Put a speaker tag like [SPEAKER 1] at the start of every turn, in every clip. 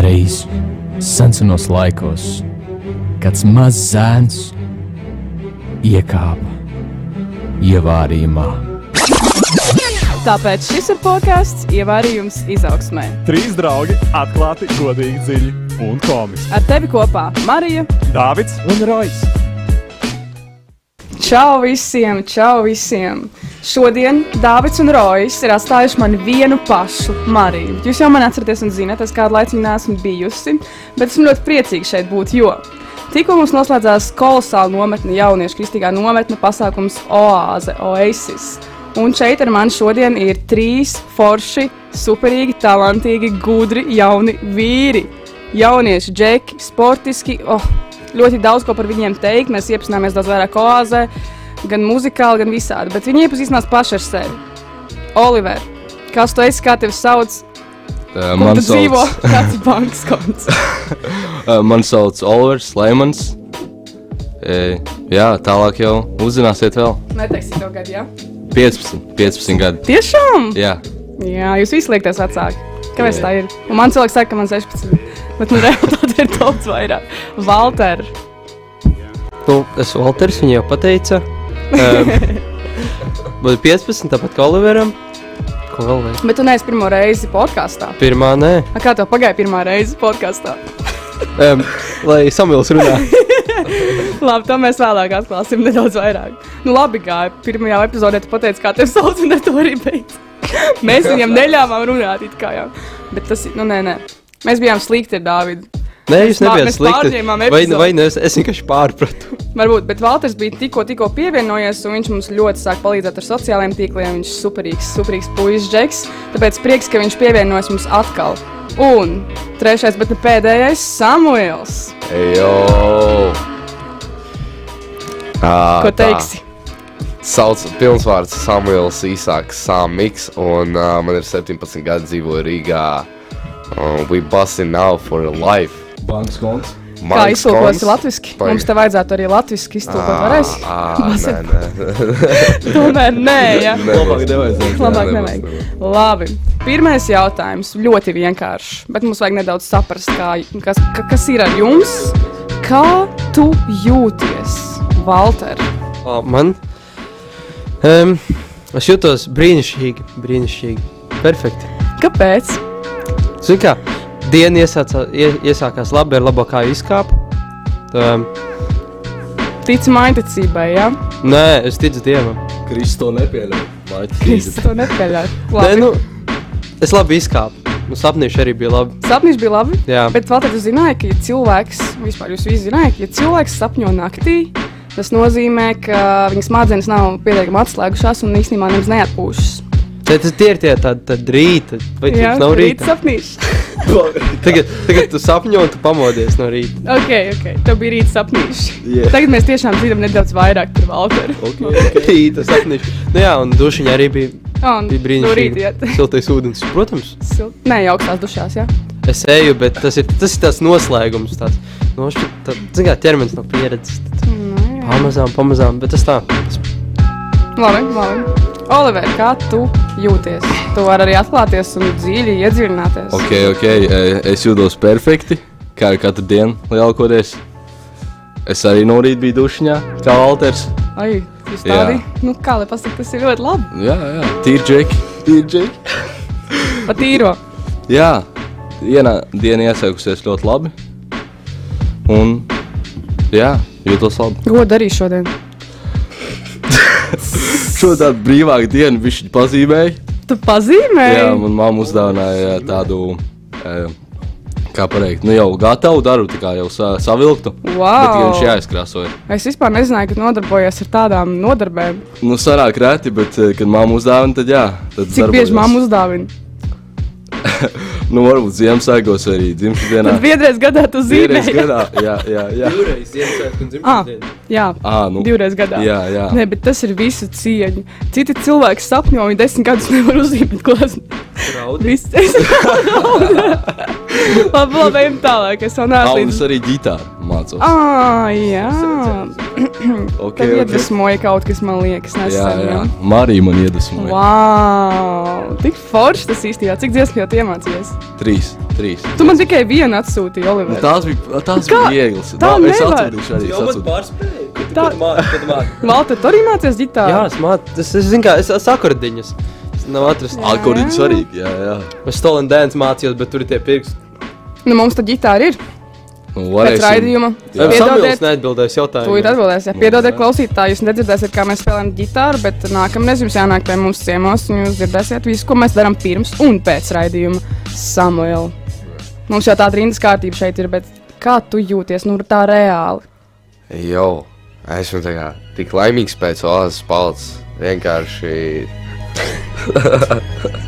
[SPEAKER 1] reizi senos laikos, kad mazs zēns iekāpa ievārījumā.
[SPEAKER 2] Tāpēc šis ir podkāsts ievārījums izaugsmē.
[SPEAKER 3] Trīs draugi atklāti, godīgi, dziļi un komiski.
[SPEAKER 2] Ar tevi kopā Marija.
[SPEAKER 3] Dāvids un Rojas.
[SPEAKER 2] Čau visiem, čau visiem! Šodien Dārvids un Rojas ir atstājuši mani vienu pašu Mariju. Jūs jau mani atceraties un zināt, es kādu laiku nesmu bijusi, bet esmu ļoti priecīga šeit būt, jo tikko mums noslēdzās kolosāla nometne, jauniešu kristīgā nometne, pasākums Oāze, Oasis. Un šeit ar mani šodien ir trīs forši, superīgi, talantīgi, gudri jauni vīri. Jaunieši, džeki, sportiski. Oh, ļoti daudz ko par viņiem teikt. Mēs iepazināmies daudz vairāk oāzē, gan muzikāli, gan visādi. Bet viņi iepazīstinās paši ar sevi. Oliver, kas tu esi, kā tevi sauc?
[SPEAKER 4] Uh,
[SPEAKER 2] Kur
[SPEAKER 4] Man
[SPEAKER 2] tu dzīvo?
[SPEAKER 4] sauc,
[SPEAKER 2] Kāds ir bankas konts?
[SPEAKER 4] uh, man sauc Olivers Lemons. E, jā, tālāk jau uzzināsiet vēl.
[SPEAKER 2] Neteiksim to gadu, jā?
[SPEAKER 4] 15, 15 gadi.
[SPEAKER 2] Tiešām!
[SPEAKER 4] Jā,
[SPEAKER 2] Jā, jūs visi liekties vecāki. Kāpēc tā ir? Un man cilvēks saka, ka man 16, bet nu realitāte ir daudz vairāk. Valter,
[SPEAKER 5] Nu, es esmu Walters, viņa jau pateica. Um, Būtu 15, tāpat kā Oliveram. Ko vēl vēl?
[SPEAKER 2] bet tu neesi pirmo reizi podkāstā.
[SPEAKER 5] Pirmā, nē,
[SPEAKER 2] A, Kā tev pagāja pirmā reize podkāstā?
[SPEAKER 5] um, lai Samuels runā.
[SPEAKER 2] Labi, to mēs vēlāk atklāsim nedaudz vairāk. Nu, labi, gāja. Pirmajā epizodē tu pateici, kā te sauc, un ar to arī beidz. Mēs viņam neļāvām runāt, it kā jau. Bet tas ir, nu, nē, nē. Mēs bijām slikti ar Dāvidu.
[SPEAKER 5] Nē,
[SPEAKER 2] Mēs
[SPEAKER 5] jūs
[SPEAKER 2] pār-
[SPEAKER 5] nebijāt
[SPEAKER 2] mēs
[SPEAKER 5] slikti.
[SPEAKER 2] pārņēmām
[SPEAKER 5] Vai, nu,
[SPEAKER 2] epizodi.
[SPEAKER 5] vai ne, es, es vienkārši pārpratu.
[SPEAKER 2] Varbūt, bet Valters bija tikko, tikko pievienojies, un viņš mums ļoti sāk palīdzēt ar sociālajiem tīkliem. Viņš ir superīgs, superīgs puisis, Džeks. Tāpēc prieks, ka viņš pievienojas mums atkal. Un trešais, bet ne pēdējais, Samuels.
[SPEAKER 4] jau.
[SPEAKER 2] Ko teiksi?
[SPEAKER 4] Sauc pilns vārds Samuels Īsāks Samiks, un uh, man ir 17 gadi dzīvoju Rīgā. Uh, we busting now for life.
[SPEAKER 3] Bankas konts.
[SPEAKER 2] Kā
[SPEAKER 4] Mans
[SPEAKER 2] iztulkosi
[SPEAKER 4] konts-
[SPEAKER 2] latviešu?
[SPEAKER 4] Vai-
[SPEAKER 2] Mums te vajadzētu arī latviešu iztulkot. Varēs?
[SPEAKER 4] Ā,
[SPEAKER 2] Būs-
[SPEAKER 4] Nē, nē.
[SPEAKER 2] Tomēr nē, ja.
[SPEAKER 4] Labāk
[SPEAKER 3] nevajadzētu.
[SPEAKER 2] Labāk
[SPEAKER 4] Jā, nebūs,
[SPEAKER 2] nevajag. Labi. Pirmais jautājums ļoti vienkāršs, bet mums vajag nedaudz saprast, kā, kas, ka- kas ir ar jums. Kā tu jūties, Valter?
[SPEAKER 5] O, man. Um, es jūtos brīnišķīgi, brīnišķīgi. Perfekti.
[SPEAKER 2] Kāpēc?
[SPEAKER 5] Zini kā, diena iesāca, ie, iesākās labi ar labo kāju izkāpu. Um,
[SPEAKER 2] Tic maiticībai, ja?
[SPEAKER 5] nē, es ticu Dievam.
[SPEAKER 3] Kristus to nepieļauj.
[SPEAKER 2] Es to nepieļauju.
[SPEAKER 5] Nē,
[SPEAKER 2] Labi.
[SPEAKER 5] nu, es labi izkāpu. Nu, sapnīši arī bija labi.
[SPEAKER 2] Sapnis bija labi.
[SPEAKER 5] Jā.
[SPEAKER 2] Bet Valter, jūs zinājāt, ka ja cilvēks, vispār jūs visi zinājāt, ka ja cilvēks sapņo naktī, tas nozīmē, ka viņa smadzenes nav pietiekami atslēgušās un īstenībā nemaz neatpūšas.
[SPEAKER 5] Tie, tie, tie ir tie tādi tad rīta, vai tas nav
[SPEAKER 2] rīt
[SPEAKER 5] rīta?
[SPEAKER 2] sapnīši.
[SPEAKER 5] Tagad, tagad tu sapņo un tu pamodies no rīta.
[SPEAKER 2] Ok, ok, tev bija rīta sapnīši.
[SPEAKER 3] Yeah.
[SPEAKER 2] Yeah. Tagad mēs tiešām zinām nedaudz vairāk par Valteru.
[SPEAKER 5] Rīta sapniši. Nu jā, un dušiņā arī bija,
[SPEAKER 2] Un, nu,
[SPEAKER 5] bija brīnišķīgi. Siltais ūdens, protams.
[SPEAKER 2] Sil... Nē, jau augstās dušās, jā.
[SPEAKER 5] Es eju, bet tas ir, tas ir tāds noslēgums. Tāds. No šķi, tā, zin kā, ķermenis nav pieredzis. tad
[SPEAKER 2] Mm.
[SPEAKER 5] Pamazām, pamazām, bet tas tā. Es,
[SPEAKER 2] Labi, labi. Oliver, kā tu jūties? Tu vari arī atklāties un dziļi iedzirināties.
[SPEAKER 4] Ok, ok, e, es jūtos perfekti, kā jau katru dienu lielākoties. Es arī no rīta biju dušņā, kā Walters.
[SPEAKER 2] Ai, jūs
[SPEAKER 4] Jā.
[SPEAKER 2] tādi, nu kā lai pasaka, tas ir ļoti labi.
[SPEAKER 4] Jā, jā, tīri džeki. Tīri džeki.
[SPEAKER 2] Pat īro.
[SPEAKER 4] Jā, diena, diena iesākusies ļoti labi. Un, jā, jūtos labi.
[SPEAKER 2] Ko darīju šodien?
[SPEAKER 4] Šo tādu brīvāku dienu viņš pazīmēja.
[SPEAKER 2] Tu pazīmēji?
[SPEAKER 4] Jā, man mamma uzdāvināja jā, tādu, e, kā pareizi, nu jau gatavu darbu, tā kā jau sa savilktu. Bet tikai
[SPEAKER 2] Wow.
[SPEAKER 4] viņš jāizkrāsoja.
[SPEAKER 2] Es vispār nezināju, ka nodarbojies ar tādām nodarbēm.
[SPEAKER 4] Nu, sanāk rēti, bet, eh, kad mamma uzdāvina, tad jā. Tad
[SPEAKER 2] Cik
[SPEAKER 4] darbojos.
[SPEAKER 2] bieži mamma uzdāvina?
[SPEAKER 4] Nu, varbūt Ziemassvētkos arī dzimšanas dienā.
[SPEAKER 2] Tad vienreiz gadā tu
[SPEAKER 4] Vienreiz
[SPEAKER 2] zīmēji.
[SPEAKER 4] gadā. Jā, jā, jā.
[SPEAKER 5] Divreiz Ziemassvētku un
[SPEAKER 2] Ah, jā,
[SPEAKER 4] À, nu.
[SPEAKER 2] divreiz gadā.
[SPEAKER 4] Jā, jā.
[SPEAKER 2] Nē, bet tas ir visu cieņu. Citi cilvēki sapņo, viņi desmit gadus nevar uzzīmēt, ko tas
[SPEAKER 5] Traudies.
[SPEAKER 2] viss ir. Labi, labi, ejam tālāk. Es vēl neesmu
[SPEAKER 4] Aunis
[SPEAKER 2] līdz...
[SPEAKER 4] arī ģitāru mācos.
[SPEAKER 2] Ah, jā.
[SPEAKER 4] Ok,
[SPEAKER 2] Tev
[SPEAKER 4] ok.
[SPEAKER 2] iedvesmoja kaut kas, man liekas,
[SPEAKER 4] Jā,
[SPEAKER 2] nesen.
[SPEAKER 4] jā.
[SPEAKER 2] jā.
[SPEAKER 4] Marija man iedvesmoja.
[SPEAKER 2] Wow! Tik forši tas īstenībā. Cik dziesmu jau tu iemācījies?
[SPEAKER 4] Trīs.
[SPEAKER 6] trīs.
[SPEAKER 2] Tu man tikai vienu atsūtīji,
[SPEAKER 6] Nu,
[SPEAKER 2] Oliver.
[SPEAKER 6] tās bija, tās
[SPEAKER 2] Kā?
[SPEAKER 6] bija vieglas.
[SPEAKER 2] Tā
[SPEAKER 6] Nā, es
[SPEAKER 2] nevar.
[SPEAKER 6] atbildīšu arī. es
[SPEAKER 7] Jau man
[SPEAKER 6] atbildīšu.
[SPEAKER 7] pārspēja. Kad
[SPEAKER 2] Tā-
[SPEAKER 7] tu māki, kad māki.
[SPEAKER 2] Valter, tu arī mācies ģitāru?
[SPEAKER 5] Jā, es mācos, es, es zinu, kā es esmu akordiņus. Es nav atrasts.
[SPEAKER 2] Jā.
[SPEAKER 6] Akordiņi svarīgi, jā, jā.
[SPEAKER 5] Es Stolen Dance mācījos, bet tur ir tie pirksti.
[SPEAKER 2] Nu, mums tā ģitāra ir.
[SPEAKER 6] Nu,
[SPEAKER 2] Pēc
[SPEAKER 6] varēsim-
[SPEAKER 2] raidījuma.
[SPEAKER 6] Jā.
[SPEAKER 5] Samuels
[SPEAKER 2] Piedodiet,
[SPEAKER 5] neatbildēs
[SPEAKER 2] tu ir
[SPEAKER 5] jautājumu.
[SPEAKER 2] atbildējis. Jā, piedodiet, klausītāji, jūs nedzirdēsiet, kā mēs spēlējam ģitāru, bet nākamreiz jums jānāk pie mums ciemos, un jūs dzirdēsiet visu, ko mēs darām pirms un pēc raidījuma Samuel. Mums jau tāda rindas kārtība šeit ir, bet kā tu jūties, nu tā reāli?
[SPEAKER 4] Jo, esmu tā kā tik laimīgs pēc olas palts. Vienkārši.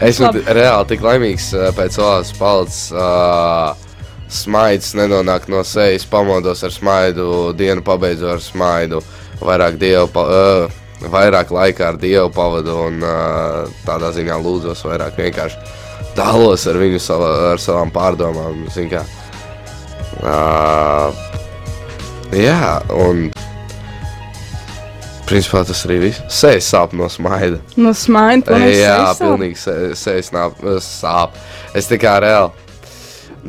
[SPEAKER 4] esmu
[SPEAKER 2] Labi.
[SPEAKER 4] t- reāli tik laimīgs eh, pēc olas palts. Uh, smaids nenonāk no sejas, pamodos ar smaidu, dienu pabeidzu ar smaidu. Vairāk dievu, pa, uh, vairāk laika ar dievu pavadu un uh, tādā ziņā lūdzos vairāk vienkārši dalos ar viņu sava, ar savām pārdomām. Zin kā. Uh, Jā, un. Principā tas arī viss. Sēž sāp no smaida.
[SPEAKER 2] Nu, smaini, protams,
[SPEAKER 4] Jā, pilnīgi sē- sēž nāp- sāp. Es tā kā reāli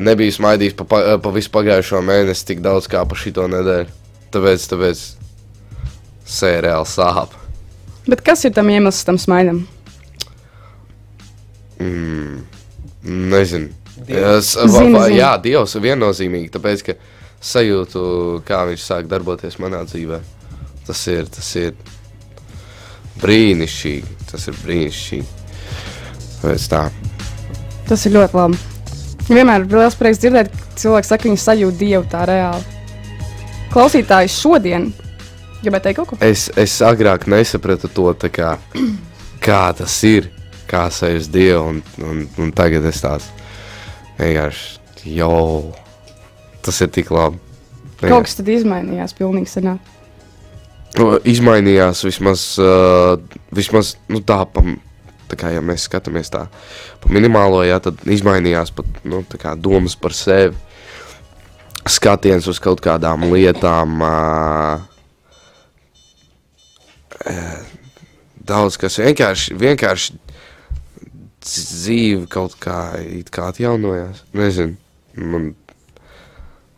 [SPEAKER 4] nebiju smaidījis pa, pa, pa visu pagājušo mēnesi tik daudz kā pa šito nedēļu. Tāpēc, tāpēc sēž reāli sāp.
[SPEAKER 2] Bet kas ir tam iemesls tam smainim?
[SPEAKER 4] Mm, nezinu. Es, va,
[SPEAKER 2] Zini,
[SPEAKER 4] va,
[SPEAKER 2] zini.
[SPEAKER 4] jā, Dievs ir viennozīmīgi, tāpēc ka sajūtu, kā viņš sāk darboties manā dzīvē. Tas ir, tas ir brīnišķīgi. Tas ir brīnišķīgi. Tāpēc tā.
[SPEAKER 2] Tas ir ļoti labi. Vienmēr ir liels prieks dzirdēt, ka cilvēks saka, ka viņi sajūt dievu tā reāli. Klausītāji šodien gribētu teikt kaut ko.
[SPEAKER 4] Es, es agrāk nesapratu to, tā kā, kā tas ir, kā sajust Dievu, un, un, un tagad es tās vienkārši jau. Tas ir tik labi.
[SPEAKER 2] Kaut kas tad izmainījās pilnīgi senā.
[SPEAKER 4] Nu, izmainījās vismaz, uh, vismaz nu, tā, pa, tā kā ja mēs skatāmies tā, pa minimālo, jā, tad izmainījās pat nu, tā kā domas par sevi, skatiens uz kaut kādām lietām. Uh, Daudz kas vienkārši, vienkārši dzīve kaut kā, it kā atjaunojās. Nezinu, man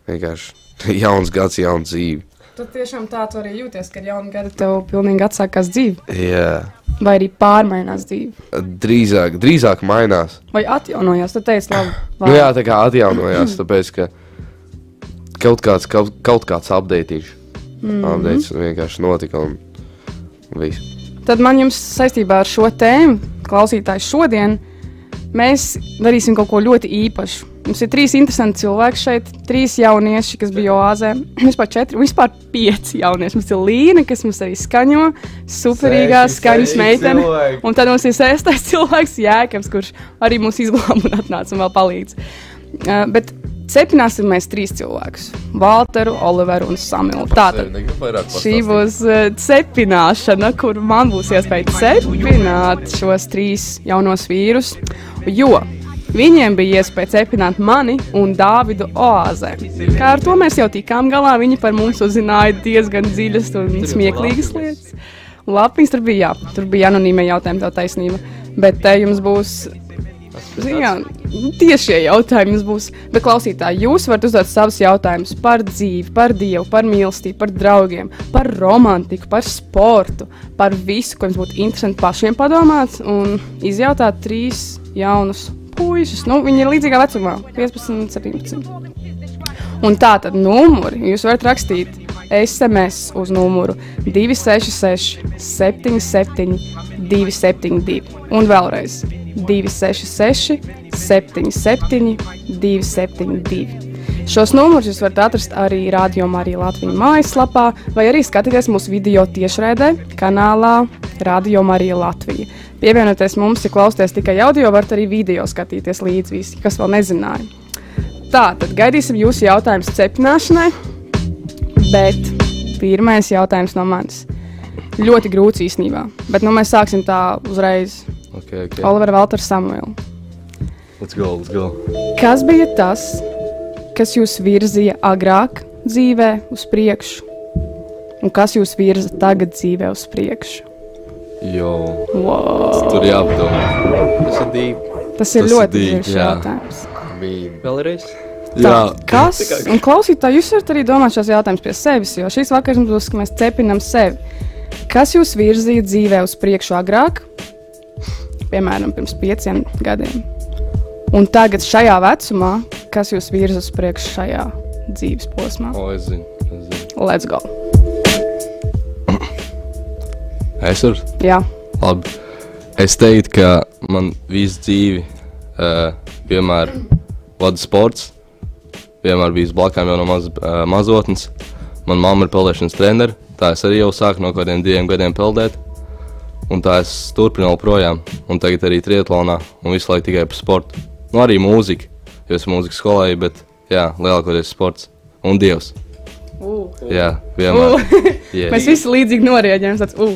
[SPEAKER 4] vienkārši jauns gads, jauna dzīve.
[SPEAKER 2] Tu tiešām tā tu arī jūties, ka jaunu gadu tev pilnīgi atsākās dzīve,
[SPEAKER 4] Jā. Yeah.
[SPEAKER 2] vai arī pārmainās dzīve,
[SPEAKER 4] drīzāk, drīzāk mainās.
[SPEAKER 2] vai atjaunojās. Tu teici, labi,
[SPEAKER 4] Nu, jā, tā kā atjaunojās, tāpēc ka kaut kāds, kaut, kaut kāds apgādājums mm -hmm. vienkārši notika. Un, un viss.
[SPEAKER 2] Tad man jums saistībā ar šo tēmu, klausītāji, šodien mēs darīsim kaut ko ļoti īpašu. Mums ir trīs interesanti cilvēki šeit, trīs jaunieši, kas bija oāzē. Vispār četri, vispār pieci jaunieši. Mums ir Līna, kas mums arī skaņo, superīgā skaņas meitene. Un tad mums ir sestais cilvēks, Jēkabs, kurš arī mūs izglāba un atnāca un vēl palīdz. Uh, bet cepināsim mēs trīs cilvēkus - Valteru, Oliveru un Samilu. Tātad šī būs eh, cepināšana, kur man būs iespēja cepināt šos trīs jaunos vīrus, jo viņiem bija iespēja cepināt mani un Dāvidu oāzē. Kā ar to mēs jau tikām galā, viņi par mums uzzināja diezgan dziļas un smieklīgas lietas. Lapiņas tur bija, jā, tur bija anonīmie jautājumi, tā taisnība. Bet te jums būs Jā, tiešie jautājumi jums būs. Bet, klausītāji, jūs varat uzdot savus jautājumus par dzīvi, par dievu, par mīlestību, par draugiem, par romantiku, par sportu, par visu, ko jums būtu interesanti pašiem padomāt un izjautāt trīs jaunus puikas. Nu, viņi ir līdzīgā vecumā, 15, 17. Un tā tad numuri jūs varat rakstīt SMS uz numuru 266, 77, 272. Un vēlreiz 266, 77, 272. Šos numurus jūs varat atrast arī Rādio Marijā Latvijas mājaslapā, vai arī skatīties mūsu video tiešraidē, kanālā Rādio Marijā Latvija. Pievienoties mums, ja klausāties tikai audio, varat arī video skatīties līdzi visi, kas vēl nezināja. Tā, tad gaidīsim jūsu jautājumus cepināšanai. Bet pirmais jautājums no manis. Ļoti grūts īstenībā. Bet nu, mēs sāksim tā uzreiz.
[SPEAKER 6] Okay, okay.
[SPEAKER 2] Olivera Valtera Samuela.
[SPEAKER 6] Let's go, let's go.
[SPEAKER 2] Kas bija tas, kas jūs virzīja agrāk dzīvē uz priekšu? Un kas jūs virza tagad dzīvē uz priekšu?
[SPEAKER 6] Jo,
[SPEAKER 2] Wow.
[SPEAKER 6] tur jāpadomā.
[SPEAKER 5] Tas ir divi.
[SPEAKER 2] Tas ir
[SPEAKER 6] Tas
[SPEAKER 2] Tas
[SPEAKER 6] ir
[SPEAKER 2] ļoti
[SPEAKER 6] dīgi,
[SPEAKER 2] dziļš
[SPEAKER 6] jā.
[SPEAKER 2] jautājums.
[SPEAKER 4] Mīn.
[SPEAKER 5] Vēlreiz.
[SPEAKER 2] Tā,
[SPEAKER 6] Jā,
[SPEAKER 2] kas? Un klausītāji, jūs varat arī domāt šos jautājumus pie sevis, jo šīs vakars mums būs, ka mēs cepinam sevi. Kas jūs virzīja dzīvē uz priekšu agrāk, piemēram, pirms pieciem gadiem? Un tagad, šajā vecumā, kas jūs virza uz priekšu šajā dzīves posmā?
[SPEAKER 6] O, es zinu. Es zinu.
[SPEAKER 2] Let's go!
[SPEAKER 6] Es varu.
[SPEAKER 2] Jā,
[SPEAKER 6] Labi. Es teiktu, ka man visu dzīvi uh, vienmēr vada sports. Vienmēr bijis blakām jau no maz, uh, mazotnes. Manā mamma ir peldēšanas treneris. Tā es arī jau sāku no kādiem diviem gadiem peldēt. Un tā es turpinu joprojām. Un tagad arī triatlonā. Un visu laiku tikai par sportu. Nu, arī mūzika. Jo es mūzikas skolēju, bet jā, lielākoties sports. Un dievs. Jā, vienmēr. Yeah.
[SPEAKER 2] Uh. mēs visi līdzīgi norēģējam. tāds, "Ū."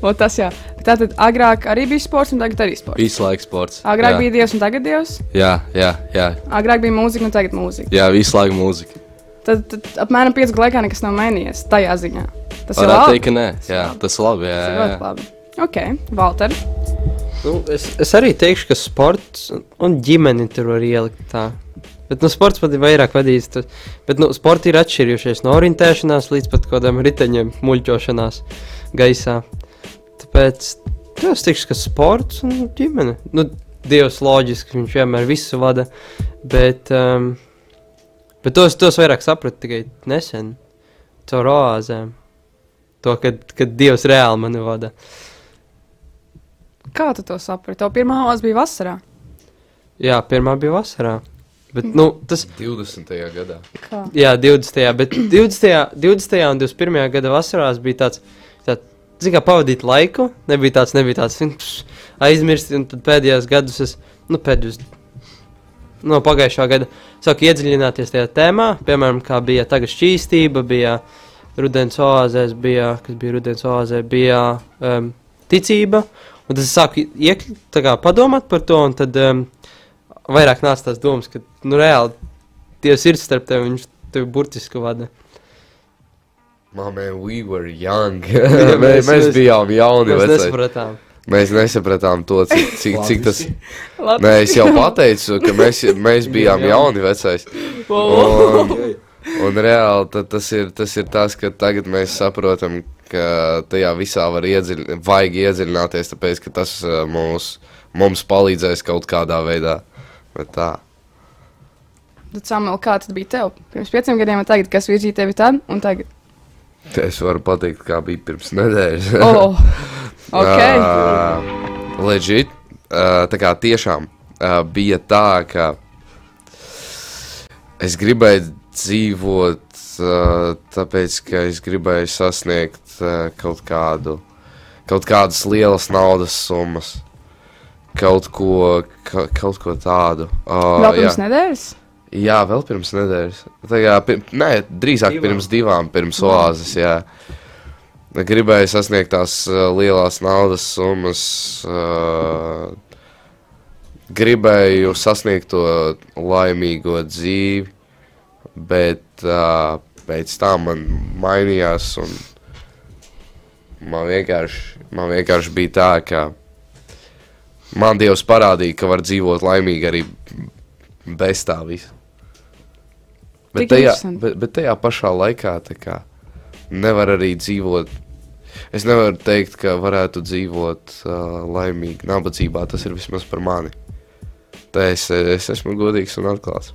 [SPEAKER 2] O, Tas jā. Tātad agrāk arī bija sports, un tagad arī sports.
[SPEAKER 6] Visu laiku sports.
[SPEAKER 2] Agrāk
[SPEAKER 6] jā.
[SPEAKER 2] bija dievs, un tagad dievs.
[SPEAKER 6] Jā, jā, jā,
[SPEAKER 2] Agrāk bija mūzika, un tagad mūzika.
[SPEAKER 6] jā visu laiku mūzika.
[SPEAKER 2] tad, tad apmēram 5 gadu laikā nekas nav mainījies tajā ziņā. Tas ir
[SPEAKER 6] Varētu
[SPEAKER 2] labi.
[SPEAKER 6] teikt, ka nē, jā, tas ir labi. Jā,
[SPEAKER 2] Tas ir
[SPEAKER 6] jā,
[SPEAKER 2] ļoti
[SPEAKER 6] jā.
[SPEAKER 2] labi. Ok, Valter.
[SPEAKER 5] Nu, es, es arī teikšu, ka sports un- un ģimene tur var ielikt tā. Bet nu, sports pat ir vairāk vadījis. tu- Bet nu, sports ir atšķirjušies no orientēšanās līdz pat kādam riteņiem, muļķošanās gaisā. Tāpēc nu, es teikšu, ka sports un ģimene. Nu, Dievs loģiski, viņš vienmēr visu vada. Bet, um, bet tos, tos vairāk sapratu tikai nesen, caur oāzēm. To, kad, kad Dievs reāli mani vada.
[SPEAKER 2] Kā tu to saprati? Tev pirmā olas bija vasarā.
[SPEAKER 5] Jā, pirmā bija vasarā. Bet, nu, tas
[SPEAKER 4] 20. gadā.
[SPEAKER 2] Kā?
[SPEAKER 5] jā, 20. bet 20. 20. un 21. gada vasarās bija tāds, tāds zin, kā pavadīt laiku. Nebija tāds, nebija tāds zin, pš, aizmirst, un tad pēdējos gadus es, nu, pēdējos no pagājušā gada sāku iedziļināties tajā tēmā. Piemēram, kā bija tagad šķīstība, bija rudens oāzēs, bija, kas bija rudens oāzē, bija um, ticība. Un tad es sāku iekļūt, tā kā padomāt par to, un tad um, vairāk nāca tās domas, ka, nu, reāli Dievs ir starp tevi, viņš tevi burtiski vada.
[SPEAKER 4] Māmē, we were young. mēs,
[SPEAKER 5] mēs-
[SPEAKER 4] mēs
[SPEAKER 5] mēs-
[SPEAKER 4] bijām jauni.
[SPEAKER 5] Mēs
[SPEAKER 4] Mēs,
[SPEAKER 5] nesapratām.
[SPEAKER 4] mēs nesapratām to, cik, cik, cik tas.
[SPEAKER 2] Labi.
[SPEAKER 4] Nē, es jau pateicu, ka mēs, mēs bijām jauni vecais. Un, un reāli ta- tas ir, tas ir tas, ka tagad mēs saprotam, ka tajā visā var iedziļināties, vajag iedziļināties, tāpēc ka tas eh, mūs, mums palīdzēs kaut kādā veidā. Bet tā.
[SPEAKER 2] Tad, Samuel, kā tas bija tev? Pirms pieciem gadiem, un tagad, kas virzīja tevi tad un tagad?
[SPEAKER 4] Es varu pateikt, kā bija pirms nedēļas.
[SPEAKER 2] Oh, ok.
[SPEAKER 4] Uh, Leģit, uh, tā kā tiešām uh, bija tā, ka es gribēju dzīvot, uh, tāpēc ka es gribēju sasniegt uh, kaut kādu, kaut kādas lielas naudas summas. Kaut ko, ka, kaut ko tādu. Uh,
[SPEAKER 6] oh,
[SPEAKER 2] Vēl pirms nedēļas?
[SPEAKER 4] Jā, vēl pirms nedēļas. Tā kā, pir... Nē, drīzāk divām. pirms divām, pirms oāzes. Jā. Gribēju sasniegt tās uh, lielās naudas summas. Uh, gribēju sasniegt to laimīgo dzīvi, bet uh, pēc tam man mainījās. un Man vienkārši, man vienkārši bija tā, ka man Dievs parādīja, ka var dzīvot laimīgi arī bez tā visa. Bet
[SPEAKER 2] Tik
[SPEAKER 4] tajā,
[SPEAKER 2] interesanti.
[SPEAKER 4] bet, bet tajā pašā laikā tā kā, nevar arī dzīvot. Es nevaru teikt, ka varētu dzīvot uh, laimīgi nabadzībā. Tas ir vismaz par mani. Tā es, es esmu godīgs un atklāts.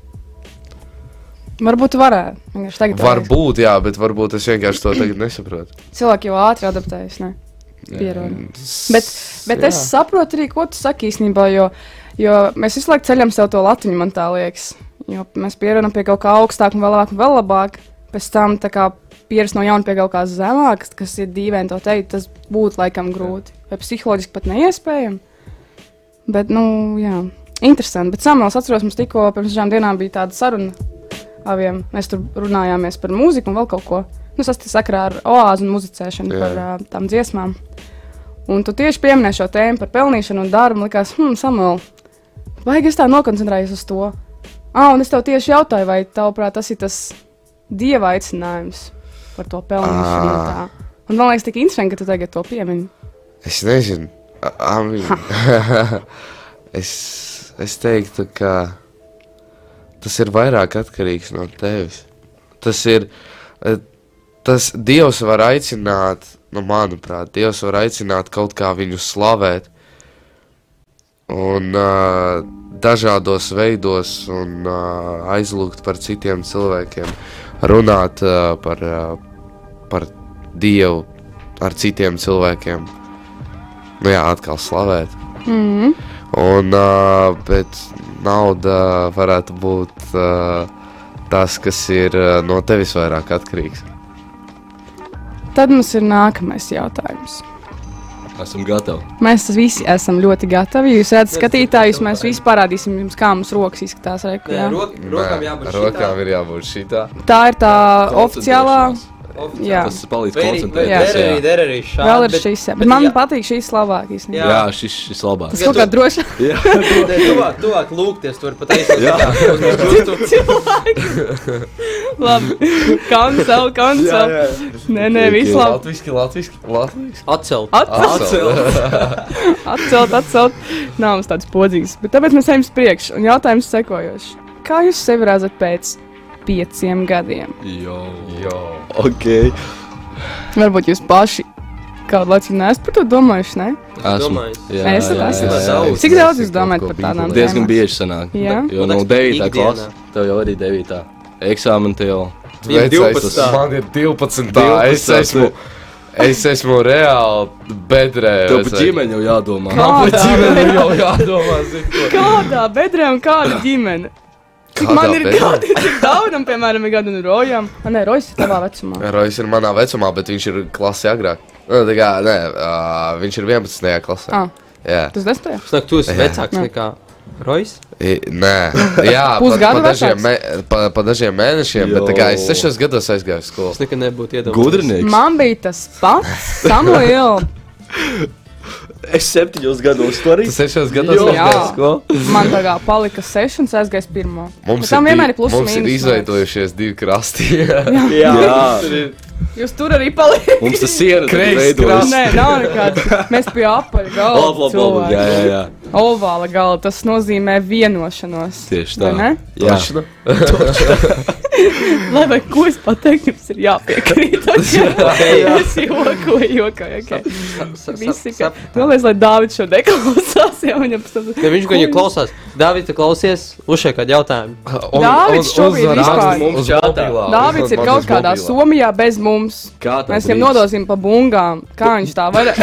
[SPEAKER 2] Varbūt tu varētu. Vienkārši tagad. tā liekas.
[SPEAKER 4] Varbūt, jā, bet varbūt es vienkārši to tagad nesaprotu.
[SPEAKER 2] Cilvēki jau ātri adaptējas. Ne? Pierod. Bet, bet es saprotu arī, ko tu saki īstenībā, jo, jo mēs visu laiku ceļam sev to latiņu, man tā liekas. Jo mēs pierodam pie kaut kā augstāka, un vēl labāk, un vēl labāk. Pēc tam tā kā pierast no jauna pie kaut kā zemākas, kas ir dīvaini to teikt, tas būtu laikam grūti. Vai psiholoģiski pat neiespējami. Bet, nu, jā, interesanti. Bet Samuēls atceros, mums tikko pirms dažām dienām bija tāda saruna aviem. Mēs tur runājāmies par mūziku un vēl kaut ko. Nu, tas tas sakrā ar oāzi un muzicēšanu
[SPEAKER 4] Jā.
[SPEAKER 2] par uh, tām dziesmām. Un tu tieši pieminēji šo tēmu par pelnīšanu un darbu. Man liekas, hmm, Samuēl, vajag es tā nokoncentrējies uz to. Ah, un es tev tieši jautāju, vai tavuprāt tas ir tas dieva aicinājums par to pelnīšanu. un
[SPEAKER 4] Ah.
[SPEAKER 2] tā. Un man liekas, tik interesanti, ka tu tagad to piemini.
[SPEAKER 4] Es nezinu. A- Amin. es, es teiktu, ka tas ir vairāk atkarīgs no tevis. Tas ir. eh, Tas Dievs var aicināt, nu, manuprāt, Dievs var aicināt kaut kā viņu slavēt. Un uh, dažādos veidos, un uh, aizlūgt par citiem cilvēkiem, runāt uh, par, uh, par Dievu ar citiem cilvēkiem. Nu, jā, atkal slavēt.
[SPEAKER 2] Mm.
[SPEAKER 4] Un, uh, bet nauda varētu būt uh, tas, kas ir uh, no tevis vairāk atkarīgs.
[SPEAKER 2] Tad mums ir nākamais jautājums.
[SPEAKER 6] Esam gatavi.
[SPEAKER 2] Mēs tas visi esam ļoti gatavi. Jūs redzat, skatītājus, mēs visi parādīsim jums, kā mums rokas izskatās. Re,
[SPEAKER 5] Nē,
[SPEAKER 2] jā.
[SPEAKER 5] rok, rokām jābūt
[SPEAKER 4] Nē, rokām ir jābūt šitā.
[SPEAKER 2] Tā ir tā oficiālā.
[SPEAKER 5] šitā.
[SPEAKER 2] Jā,
[SPEAKER 6] Tas palīdz
[SPEAKER 5] Vai arī- vai
[SPEAKER 2] Jā.
[SPEAKER 5] Der
[SPEAKER 6] koncentrēties.
[SPEAKER 5] arī,
[SPEAKER 6] Jā,
[SPEAKER 5] der arī šādi.
[SPEAKER 2] vēl ir
[SPEAKER 5] bet-
[SPEAKER 2] šīs.
[SPEAKER 5] bet
[SPEAKER 2] Bet man
[SPEAKER 5] jā,
[SPEAKER 2] patīk šīs labākās.
[SPEAKER 5] Jā.
[SPEAKER 6] jā šis, šis labāks.
[SPEAKER 2] Tas kaut kā droši.
[SPEAKER 5] bet Tuvāk, tuvāk lūgties, tur pat aizsākt.
[SPEAKER 2] Labi. Kancel, kancel. Nē, nē, viss labi.
[SPEAKER 4] Latvijasiski, latvijasiski, latvijasiski.
[SPEAKER 5] Atcelt.
[SPEAKER 2] Atcelt. Atcelt, atcelt. Nav mums tāds podzīgs. Bet tāpēc mēs ejam uz priekšu. Un jautājums sekojošs. Kā jūs sevi redzat pēc pieciem gadiem?
[SPEAKER 6] Jo.
[SPEAKER 4] Jo.
[SPEAKER 6] Ok.
[SPEAKER 2] Varbūt jūs paši kādu laiku neesat par to domājuši, ne?
[SPEAKER 6] Esmu.
[SPEAKER 5] Domājis.
[SPEAKER 2] Esat,
[SPEAKER 6] Jā, jā,
[SPEAKER 2] esat.
[SPEAKER 6] jā, jā, jā.
[SPEAKER 5] Daudz.
[SPEAKER 2] Cik daudz jūs
[SPEAKER 4] Kaut
[SPEAKER 2] domājat
[SPEAKER 4] ko
[SPEAKER 2] par tādām
[SPEAKER 4] bīdot.
[SPEAKER 6] Diezgan
[SPEAKER 2] tēmām?
[SPEAKER 6] bieži sanāk.
[SPEAKER 2] Jā.
[SPEAKER 6] Jo
[SPEAKER 5] Man
[SPEAKER 6] no
[SPEAKER 5] liekas,
[SPEAKER 6] 9.
[SPEAKER 5] ikdienā.
[SPEAKER 6] klases tev jau arī 9. eksāmena te jau.
[SPEAKER 5] Viņam
[SPEAKER 4] Vecais,
[SPEAKER 5] 12.
[SPEAKER 4] man ir 12.
[SPEAKER 6] 12.
[SPEAKER 4] Es esmu, es esmu reāli bedrē.
[SPEAKER 6] Tev
[SPEAKER 4] vecais.
[SPEAKER 6] par ģimeni jau jādomā.
[SPEAKER 2] Kā?
[SPEAKER 4] Man par ģimeni jau jādomā, zini, ko.
[SPEAKER 2] Kādā bedrē un kāda ģimene? Cik
[SPEAKER 4] Kādā
[SPEAKER 2] man ir
[SPEAKER 4] bedrē?
[SPEAKER 2] gadi, cik daudzam, piemēram, ir gadi un rojam? Ah, Nē, rojas ir tavā vecumā.
[SPEAKER 4] Rojas ir manā vecumā, bet viņš ir klasē agrāk. Nu, tā kā, nē, uh, viņš ir 11. klasē.
[SPEAKER 2] Ah.
[SPEAKER 4] Jā,
[SPEAKER 2] Tas desmitajā?
[SPEAKER 5] Snāk, tu esi
[SPEAKER 4] Jā.
[SPEAKER 5] vecāks nekā Rojas.
[SPEAKER 4] I, nē, jā, pa, pa,
[SPEAKER 2] Pusgadu
[SPEAKER 4] dažiem
[SPEAKER 2] vecāks?
[SPEAKER 4] me, pa, pa dažiem mēnešiem, jo. bet tā kā es
[SPEAKER 6] Jo.
[SPEAKER 4] sešos gados aizgāju uz skolu.
[SPEAKER 5] Es nekad nebūtu iedomājies.
[SPEAKER 6] Gudrinieks.
[SPEAKER 2] Man bija tas pats, Samuēl.
[SPEAKER 6] Es septiņos gados to arī.
[SPEAKER 4] Tu sešos gados
[SPEAKER 2] Jo.
[SPEAKER 4] aizgāju
[SPEAKER 2] Jā.
[SPEAKER 4] uz skolu.
[SPEAKER 2] Man tā kā palika seši un es aizgāju pirmo.
[SPEAKER 4] Mums
[SPEAKER 2] Bet Nu, tam
[SPEAKER 4] ir,
[SPEAKER 2] vienmēr
[SPEAKER 4] div,
[SPEAKER 2] ir plusi un
[SPEAKER 4] mums ir
[SPEAKER 2] mīnus. man liekas.
[SPEAKER 4] izveidojušies divi krasti.
[SPEAKER 6] Jā.
[SPEAKER 2] Jūs tur arī paliekat.
[SPEAKER 6] Mums tas siena
[SPEAKER 4] Kreis
[SPEAKER 6] veidojas.
[SPEAKER 2] Nē, nav nekāds. Mēs pie apaļa
[SPEAKER 6] Labi,
[SPEAKER 2] galda.
[SPEAKER 6] labi, labi. Jā, jā,
[SPEAKER 2] cilvēki.
[SPEAKER 6] jā.
[SPEAKER 2] Ovāla galda. Tas nozīmē vienošanos.
[SPEAKER 6] Tieši
[SPEAKER 2] Vai
[SPEAKER 6] tā.
[SPEAKER 2] ne?
[SPEAKER 6] Jā.
[SPEAKER 4] Točno.
[SPEAKER 2] Lai vai ko es pateiktu, jums ir jāpiekrīt. Jā, es jokoju, jokoju. Okay. Visi, ka... Vēlreiz, lai Dārvids šo neklausās, jau viņam pastāstīs.
[SPEAKER 5] Ja viņš kaut kā klausās, Dārvids, klausies, uzšai kādu jautājumu.
[SPEAKER 4] Un-
[SPEAKER 2] Dāvids
[SPEAKER 4] un-
[SPEAKER 2] šobrīd
[SPEAKER 4] uzvar
[SPEAKER 2] vispār-
[SPEAKER 4] Āzmu uz
[SPEAKER 6] Mums čatā.
[SPEAKER 4] mobilā.
[SPEAKER 2] Dārvids
[SPEAKER 4] Uzvar
[SPEAKER 2] ir
[SPEAKER 4] man
[SPEAKER 2] kaut
[SPEAKER 4] uz
[SPEAKER 2] kādā
[SPEAKER 4] mobilā.
[SPEAKER 2] Somijā bez mums.
[SPEAKER 6] Kā tam
[SPEAKER 2] Mēs viņam
[SPEAKER 6] drīz?
[SPEAKER 2] nodosim pa bungām. Kā viņš tā var?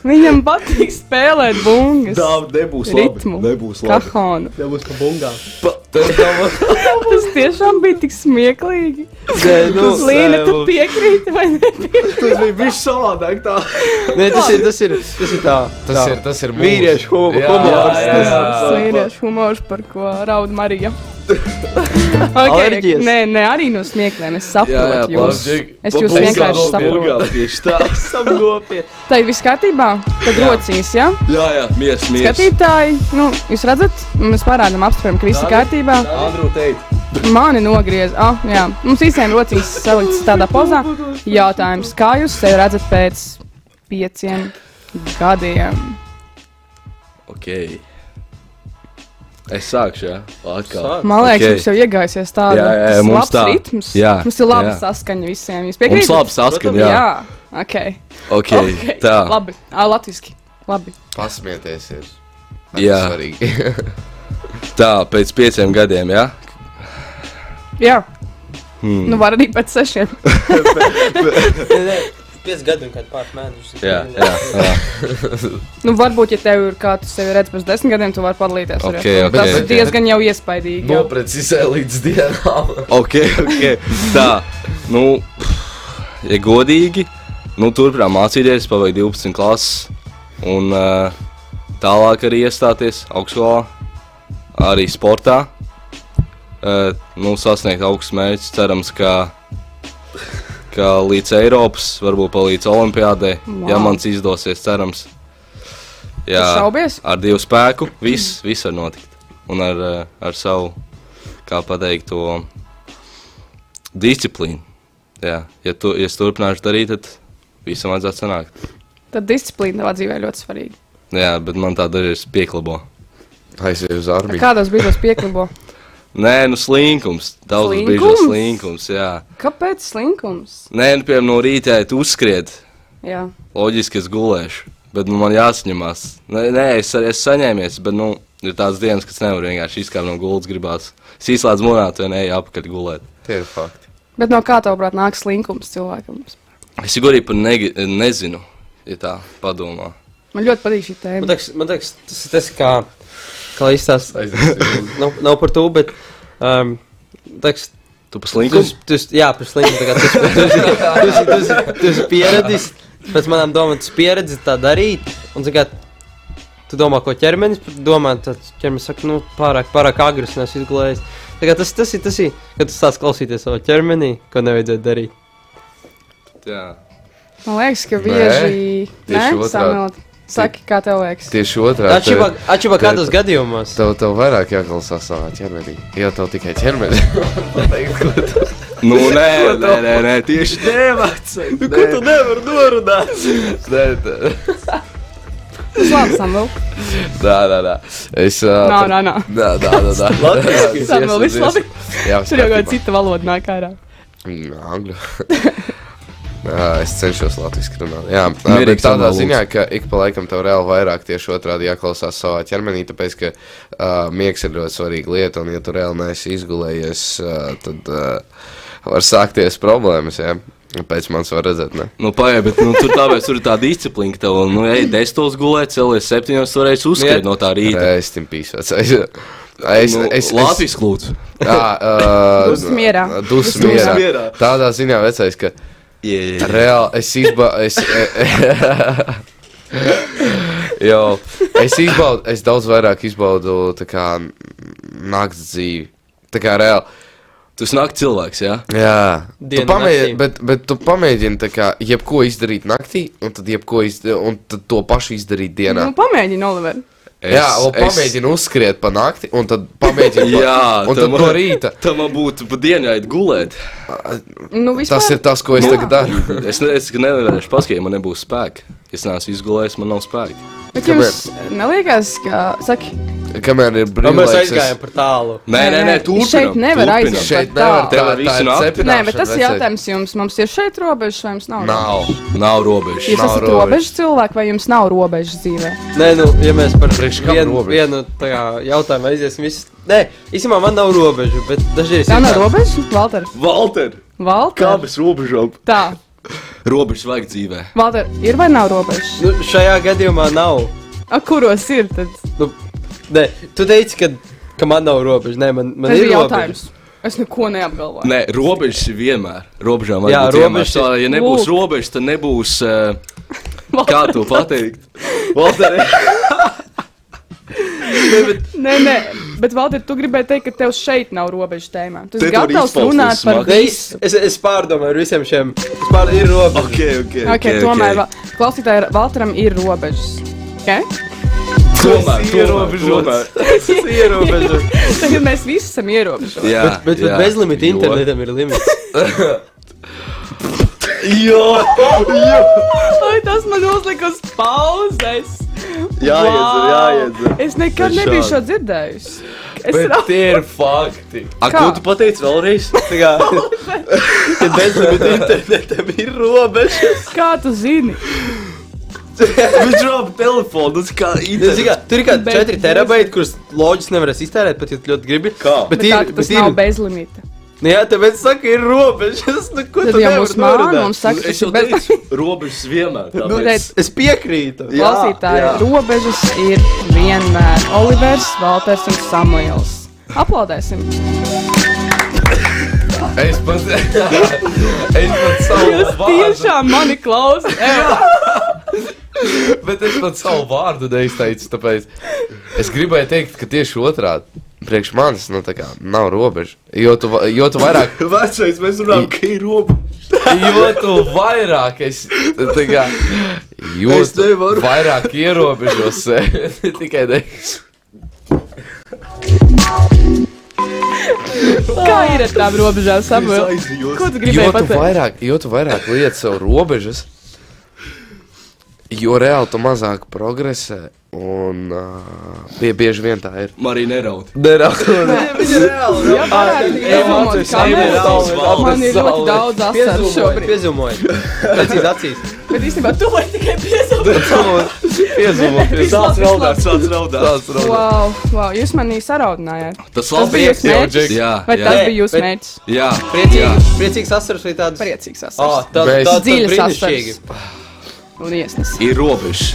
[SPEAKER 2] viņam patīk spēlēt bungas.
[SPEAKER 6] Dāv- Nebūs
[SPEAKER 2] Ritmu.
[SPEAKER 6] Nebūs
[SPEAKER 2] Kahonu.
[SPEAKER 5] Nebūs pa bungām.
[SPEAKER 2] Tas tiešām bija tik smieklīgi.
[SPEAKER 5] Nē, nu,
[SPEAKER 2] Līna, tu piekrīti vai nepiekrīti?
[SPEAKER 5] Tas bija bijis savādāk. Tā. Nē, tas ir, tas ir, tas ir tā.
[SPEAKER 4] Tas ir, tas ir mūsu.
[SPEAKER 5] Vīriešu hu-
[SPEAKER 4] Jā,
[SPEAKER 5] humors.
[SPEAKER 4] jā, jā.
[SPEAKER 2] Sīriešu humors, par ko raud Marija.
[SPEAKER 5] Alerģijas.
[SPEAKER 2] nē, nē, arī no smiekliem. Es
[SPEAKER 6] Jā, jā,
[SPEAKER 2] saprotu jūs.
[SPEAKER 4] Džek,
[SPEAKER 2] Es jūs vienkārši saprotu.
[SPEAKER 6] Tieši tā.
[SPEAKER 5] Esam nopietni.
[SPEAKER 2] Tā ir viss kārtībā. Tad rocīs, jā? Ja?
[SPEAKER 6] Jā, jā, mieres, mieres.
[SPEAKER 2] Skatītāji, nu, jūs redzat, mēs parādām apstiprinām, ka viss ir kārtībā.
[SPEAKER 6] Andru teikt.
[SPEAKER 2] Mani nogriez. Ah, jā, mums visiem rocīs salikts tādā pozā. Jautājums, kā jūs sevi redzat pēc pieciem gadiem?
[SPEAKER 6] Ok. Es sākšu, jā. Atkal.
[SPEAKER 5] Sāk.
[SPEAKER 2] Man liekas,
[SPEAKER 6] Ok.
[SPEAKER 2] okay. jums jau iegājusies tāds
[SPEAKER 6] Jā, jā, jā, mums
[SPEAKER 2] labs
[SPEAKER 6] tā.
[SPEAKER 2] ritms.
[SPEAKER 6] Jā,
[SPEAKER 2] mums ir laba
[SPEAKER 6] jā.
[SPEAKER 2] saskaņa visiem. Jūs
[SPEAKER 6] Mums
[SPEAKER 2] piekrītat?
[SPEAKER 6] labi saskana, jā.
[SPEAKER 2] jā. ok.
[SPEAKER 6] Ok,
[SPEAKER 2] okay.
[SPEAKER 6] tā.
[SPEAKER 2] Labi, Ā, latviski. Labi.
[SPEAKER 4] Pasmieties ir.
[SPEAKER 6] Jā.
[SPEAKER 4] Svarīgi.
[SPEAKER 6] Tā, pēc pieciem gadiem, jā.
[SPEAKER 2] Jā. Hmm. Nu, var arī pēc sešiem.
[SPEAKER 5] Pēc gadu un kādu pāris mēnešus.
[SPEAKER 6] Jā, jā, jā.
[SPEAKER 2] Nu, varbūt, ja tev ir kāds sevi redz pēc desmit gadiem, tu vari padalīties. ar
[SPEAKER 6] Ok,
[SPEAKER 2] jums.
[SPEAKER 6] ok. Nu,
[SPEAKER 2] Tas ir diezgan jau iespaidīgi. jau.
[SPEAKER 4] Noprecizē līdz dienām.
[SPEAKER 6] Ok, ok. Tā, nu, ja godīgi, nu, turpinām mācīties, paveikt 12 klases un uh, tālāk arī iestāties augstskolā, arī sportā. Uh, nu, sasniegt augstus mērķus, cerams, ka, ka līdz Eiropas, varbūt pat līdz Olimpiādai, wow. ja
[SPEAKER 2] Wow.
[SPEAKER 6] mans izdosies, cerams.
[SPEAKER 2] Tu šaubies?
[SPEAKER 6] ar dievu spēku viss, viss var notikt. Un ar, uh, ar savu, kā pateikt, to disciplīnu. Jā, ja, tu, ja es turpināšu darīt, tad visam vajadzētu sanākt.
[SPEAKER 2] Tad disciplīna tavā dzīvē ir ļoti svarīga.
[SPEAKER 6] Jā, bet man tā dažreiz pieklabo.
[SPEAKER 4] aiziet uz armiju.
[SPEAKER 2] Kādos brīžos pieklibo?
[SPEAKER 6] Nē, nu slinkums. Daudzas
[SPEAKER 2] Slinkums?
[SPEAKER 6] brīžas slinkums. Jā.
[SPEAKER 2] Kāpēc slinkums?
[SPEAKER 6] Nē, nu, piemēram, no rīta ja tu uzskriet.
[SPEAKER 2] Jā.
[SPEAKER 6] Loģiski es gulēšu, bet nu, man jāsaņemās. Nē, nē es arī esmu saņēmies, bet nu, ir tādas dienas, kad es nevaru vienkārši izkāpt no gultas. Gribās īslēdz monētu, ja neeju apakaļ gulēt.
[SPEAKER 4] Tie ir fakti.
[SPEAKER 2] Bet no kā tavuprāt nāk slinkums cilvēkam?
[SPEAKER 6] Es jau arī par negi, nezinu, ja tā padomā.
[SPEAKER 2] Man ļoti patīk šī
[SPEAKER 5] Man
[SPEAKER 2] tēma.
[SPEAKER 5] liekas, man liekas, tas ir tas, kā, kā izstāsta. nav, nav par to, bet. Um, Teks,
[SPEAKER 6] Tu pa
[SPEAKER 5] tu,
[SPEAKER 6] slinkums?
[SPEAKER 5] tu, jā, par slimu. tā kā Tu esi- tu esi- tu esi- tu esi- tu esi pieredzis, pēc manām domām, tas pieredzi tā darīt. Un, zin kā, tu domā, ko ķermenis par- domā, tad ķermenis saka, nu, pārāk, pārāk agresīvs, nes izgulējis. Tā kā Tas, tas ir tas, ir, kad tu sāc klausīties savā ķermenī, ko nevajadzētu darīt.
[SPEAKER 6] Jā.
[SPEAKER 2] Man liekas, ka bieži.
[SPEAKER 4] tieši otrādi.
[SPEAKER 2] Samuel, Saki, kā tev liekas?
[SPEAKER 4] Tieši otrādi. tev-
[SPEAKER 5] Atšķirībā
[SPEAKER 4] tev-
[SPEAKER 5] kādos gadījumos.
[SPEAKER 4] Tev, tev vairāk jāklausās savā ķermenī. Jo tev tikai ķermenis.
[SPEAKER 6] Nu, nē, nē, nē, nē, tieši tā.
[SPEAKER 4] Ko tu
[SPEAKER 5] nevari norunāt?
[SPEAKER 4] Tā,
[SPEAKER 2] Tas labi, Samuel.
[SPEAKER 4] tā, tā. Es.
[SPEAKER 2] Nā, nā, nā.
[SPEAKER 4] Nā, nā, nā, nā.
[SPEAKER 5] Latvijas.
[SPEAKER 2] Samuel, viss labi.
[SPEAKER 4] Jā,
[SPEAKER 2] Tur jau
[SPEAKER 4] kārtībā.
[SPEAKER 2] kāda cita valoda nāk ārā.
[SPEAKER 4] Mm, Angļu. Nā, es cenšos latviešu runāt. Jā, nā,
[SPEAKER 6] Mierīgi
[SPEAKER 4] bet tādā
[SPEAKER 6] sanāk, lūdzu.
[SPEAKER 4] ziņā, ka ik pa laikam tev reāli vairāk tieši otrādi jāklausās savā ķermenī, tāpēc ka uh, miegs ir ļoti svarīga lieta, un ja tu reāli neesi izgulējies, uh, tad uh, var sākties problēmas. Jā. Pēc manis var redzēt, ne?
[SPEAKER 6] Nu, paiet, bet nu, tur tāpēc tur ir tā disciplīna, ka tev, nu, ej, desmitos gulēt, celies septiņos, varēs uzskriet
[SPEAKER 5] Iet.
[SPEAKER 6] no tā rīta.
[SPEAKER 4] Es tam pīsācu. Es, Nu, es,
[SPEAKER 6] nu,
[SPEAKER 4] es, es,
[SPEAKER 6] Latvijas lūdzu.
[SPEAKER 4] Jā,
[SPEAKER 2] Dusmierā.
[SPEAKER 4] Dusmierā.
[SPEAKER 6] Dusmierā.
[SPEAKER 4] Tādā ziņā vecais, ka
[SPEAKER 6] Yeah.
[SPEAKER 4] reāli es izbaudu. Jo, es, izbaudu, es daudz vairāk izbaudu tā kā, naktas dzīvi. Tā kā reāli.
[SPEAKER 6] Tu snakti cilvēks, jā?
[SPEAKER 4] Jā, tu
[SPEAKER 5] Dienu
[SPEAKER 4] pamēģini,
[SPEAKER 5] naktī.
[SPEAKER 4] bet, bet tu pamēģini tā kā jebko izdarīt naktī, un tad, jebko izd un tad to pašu izdarīt dienā.
[SPEAKER 2] Nu, pamēģini, Oliver.
[SPEAKER 6] Es-
[SPEAKER 4] jā, un
[SPEAKER 6] es-
[SPEAKER 4] pamēģini uzskriet pa nakti, un tad pamēģini. pa-
[SPEAKER 6] Jā,
[SPEAKER 4] un tad
[SPEAKER 6] tam-
[SPEAKER 4] no rīta.
[SPEAKER 6] Tā man būtu pa dienu jāiet gulēt.
[SPEAKER 2] Nu, vispār,
[SPEAKER 4] Tas ir tas, ko es
[SPEAKER 6] Nu.
[SPEAKER 4] tagad daru.
[SPEAKER 6] Es, ne, es nevarēšu paskaidrot, man nebūs spēka. Es neesmu izgulējis, man nav spēka.
[SPEAKER 2] Bet jums neliekas, ka. Saki,
[SPEAKER 4] Kamēr ir
[SPEAKER 5] Nu, Mēs
[SPEAKER 4] brīvlaiks, es-
[SPEAKER 5] aizgājām par tālu.
[SPEAKER 6] Nē, nē, nē, turpinam.
[SPEAKER 2] Šeit nevar
[SPEAKER 6] turpinam.
[SPEAKER 2] aiziet.
[SPEAKER 4] Šeit
[SPEAKER 2] Tā,
[SPEAKER 4] nevar
[SPEAKER 2] tā.
[SPEAKER 4] tā,
[SPEAKER 6] Tev
[SPEAKER 4] tā
[SPEAKER 6] visu
[SPEAKER 4] ir
[SPEAKER 6] nakti?
[SPEAKER 4] cepināšana,
[SPEAKER 2] Nē, bet tas ir
[SPEAKER 4] vecais.
[SPEAKER 2] jautājums jums. Mums ir šeit robežas, vai jums nav?
[SPEAKER 4] Nav.
[SPEAKER 6] Nav robežu.
[SPEAKER 2] Jūs
[SPEAKER 4] Nav
[SPEAKER 2] esat
[SPEAKER 4] robežas.
[SPEAKER 2] robežas cilvēki, vai jums nav robežas dzīvē?
[SPEAKER 5] Nē, nu, ja mēs par
[SPEAKER 4] Priekš kam
[SPEAKER 5] vienu,
[SPEAKER 4] robežas?
[SPEAKER 5] vienu tā kā, jautājumu aiziesim, visi. Nē, īstenībā man nav robežu, bet dažreiz.
[SPEAKER 2] Tā nav robežas, Valter.
[SPEAKER 6] Valter, kā
[SPEAKER 2] Valter.
[SPEAKER 6] bez robežām?
[SPEAKER 2] Tā,
[SPEAKER 6] Robežas vajag dzīvē.
[SPEAKER 2] Valter, ir vai nav robežas?
[SPEAKER 5] Nu, šajā gadījumā nav.
[SPEAKER 2] A, kuros ir? Tad
[SPEAKER 5] Nu, nē, tu teici, ka, ka man nav robežu. Nē, man, man
[SPEAKER 2] tas
[SPEAKER 5] ir
[SPEAKER 2] bija
[SPEAKER 5] robežas.
[SPEAKER 2] jautājums. Es neko neapgalvoju.
[SPEAKER 6] Nē, robežas ir vienmēr. Robežām vajag
[SPEAKER 5] Jā,
[SPEAKER 6] būt vienmēr.
[SPEAKER 5] robežas
[SPEAKER 6] Tā,
[SPEAKER 5] ir-
[SPEAKER 6] ja nebūs
[SPEAKER 2] Lūk.
[SPEAKER 6] robežas, tad nebūs. Uh,
[SPEAKER 2] Valter,
[SPEAKER 6] kā to pateikt? Valter,
[SPEAKER 2] Nē, nē, bet Valter, tu gribēji teikt, ka tev šeit nav robežu tēmā. Tu esi
[SPEAKER 6] Te tu arī
[SPEAKER 2] gatavs
[SPEAKER 6] izpausties
[SPEAKER 2] runāt par
[SPEAKER 6] smagi.
[SPEAKER 5] Nē,
[SPEAKER 2] visu.
[SPEAKER 5] es, es, es pārdomāju ar visiem šiem. Es pārdomāju, ir robežas.
[SPEAKER 6] okay, okay,
[SPEAKER 2] Ok, tomēr va- klausītāji, Valteram ir robežas. Okay?
[SPEAKER 6] tomēr,
[SPEAKER 5] Tas ir
[SPEAKER 6] tomēr, tomēr.
[SPEAKER 5] ierobežots. Tas ir ierobežots.
[SPEAKER 2] Tagad mēs visi esam ierobežoti.
[SPEAKER 6] Jā,
[SPEAKER 5] Bet, bet, bet
[SPEAKER 6] jā,
[SPEAKER 5] bezlimita
[SPEAKER 6] jo-
[SPEAKER 5] internetam ir limits.
[SPEAKER 6] Jo,
[SPEAKER 2] Vai tas man uzlika uz pauzes?
[SPEAKER 6] Jāiedzer, jāiedzer.
[SPEAKER 2] Es nekad
[SPEAKER 6] Bet
[SPEAKER 2] nebiju
[SPEAKER 6] šādi.
[SPEAKER 2] šo dzirdējusi. Es
[SPEAKER 6] bet
[SPEAKER 2] raudu.
[SPEAKER 6] tie ir fakti. A,
[SPEAKER 2] Kā?
[SPEAKER 6] ko tu pateici vēlreiz?
[SPEAKER 5] Tā kā, ka bezlimita internetam ir robežas.
[SPEAKER 2] Kā tu zini?
[SPEAKER 6] Viņš roba telefonu, tas kā
[SPEAKER 5] Nu, zini
[SPEAKER 6] internets.
[SPEAKER 5] kā, Tur ir kaut
[SPEAKER 2] Bet
[SPEAKER 5] kādi 4
[SPEAKER 2] bez-
[SPEAKER 5] terabaiti, kurus loģiski nevarēs iztērēt, pat ja tu ļoti gribi.
[SPEAKER 6] Kā?
[SPEAKER 5] Bet,
[SPEAKER 2] Bet
[SPEAKER 5] ir,
[SPEAKER 2] tā,
[SPEAKER 5] bet,
[SPEAKER 2] tas
[SPEAKER 5] bet
[SPEAKER 2] nav
[SPEAKER 5] ir.
[SPEAKER 2] bezlimita.
[SPEAKER 5] Nu Jā, tāpēc saka, ir robežas. Nu, ko
[SPEAKER 2] Tad
[SPEAKER 5] tu
[SPEAKER 2] jau
[SPEAKER 5] nevari
[SPEAKER 2] mums māna
[SPEAKER 5] norunāt?
[SPEAKER 2] mums saka,
[SPEAKER 6] Es
[SPEAKER 2] tas
[SPEAKER 6] jau
[SPEAKER 2] ir bez...
[SPEAKER 6] teicu, robežas vienmēr.
[SPEAKER 5] Nu,
[SPEAKER 6] tāpēc-
[SPEAKER 5] es, es piekrītu.
[SPEAKER 6] Jā,
[SPEAKER 2] Klausītāji,
[SPEAKER 6] jā.
[SPEAKER 2] robežas ir vienmēr Olivers, Valters un Samuels. Aplaudēsim!
[SPEAKER 4] Es pats es pat savu
[SPEAKER 2] Jūs
[SPEAKER 4] vārdu,
[SPEAKER 2] tiešām mani klausāt!
[SPEAKER 4] bet es pat savu vārdu neizteicu, tāpēc es gribēju teikt, ka tieši otrādi. Priekš manis, nu tā kā nav robeža. Jo tu, va- jo tu vairāk,
[SPEAKER 6] Vecais, mēs runājam, ka ir robeža.
[SPEAKER 4] jo tu vairāk es, tā kā, jo
[SPEAKER 6] Es
[SPEAKER 4] tu
[SPEAKER 6] nevaru.
[SPEAKER 4] vairāk ierobežos sevi. Tikai nevis.
[SPEAKER 2] Kā ir ar tām robežām, Samuel?
[SPEAKER 6] aizjūtu.
[SPEAKER 2] Ko tu
[SPEAKER 4] Jo
[SPEAKER 2] gribēji
[SPEAKER 4] tu
[SPEAKER 2] pateikt?
[SPEAKER 4] vairāk, jo tu vairāk liec sev robežas, Jo reāli tu mazāk progresē, un uh, bie, bieži vien tā ir.
[SPEAKER 6] Marija neraud.
[SPEAKER 2] Jā, varētu iedomot,
[SPEAKER 5] mācos
[SPEAKER 2] kā
[SPEAKER 5] Emīlī
[SPEAKER 2] mēs-
[SPEAKER 5] daudz valdes
[SPEAKER 2] Man ir ļoti daudz asaru šobrīd.
[SPEAKER 5] Piezumojiet, redzēt acīs.
[SPEAKER 2] Bet īstenībā tu vari tikai piesaistīt.
[SPEAKER 6] Piezīmēties.
[SPEAKER 2] Sāc raudāt,
[SPEAKER 6] sāc raudāt.
[SPEAKER 2] Wow, wow, jūs mani saraudinājāt.
[SPEAKER 6] Tas
[SPEAKER 2] Tas
[SPEAKER 6] vēl
[SPEAKER 2] bija jūsu mērķis.
[SPEAKER 6] Jā,
[SPEAKER 2] Vai
[SPEAKER 6] jā,
[SPEAKER 2] tas
[SPEAKER 5] Nē,
[SPEAKER 2] bija jūsu
[SPEAKER 5] bet-
[SPEAKER 2] mērķis?
[SPEAKER 6] jā.
[SPEAKER 5] Priecīgs, priecīgs asars vai tāds?
[SPEAKER 2] Priecīgs
[SPEAKER 5] Oh,
[SPEAKER 2] asars.
[SPEAKER 5] tā
[SPEAKER 4] Bez-
[SPEAKER 5] tā ir
[SPEAKER 2] Dziļas
[SPEAKER 5] brīnišķīgi.
[SPEAKER 2] asaras. Un iesnes.
[SPEAKER 6] Ir robežs.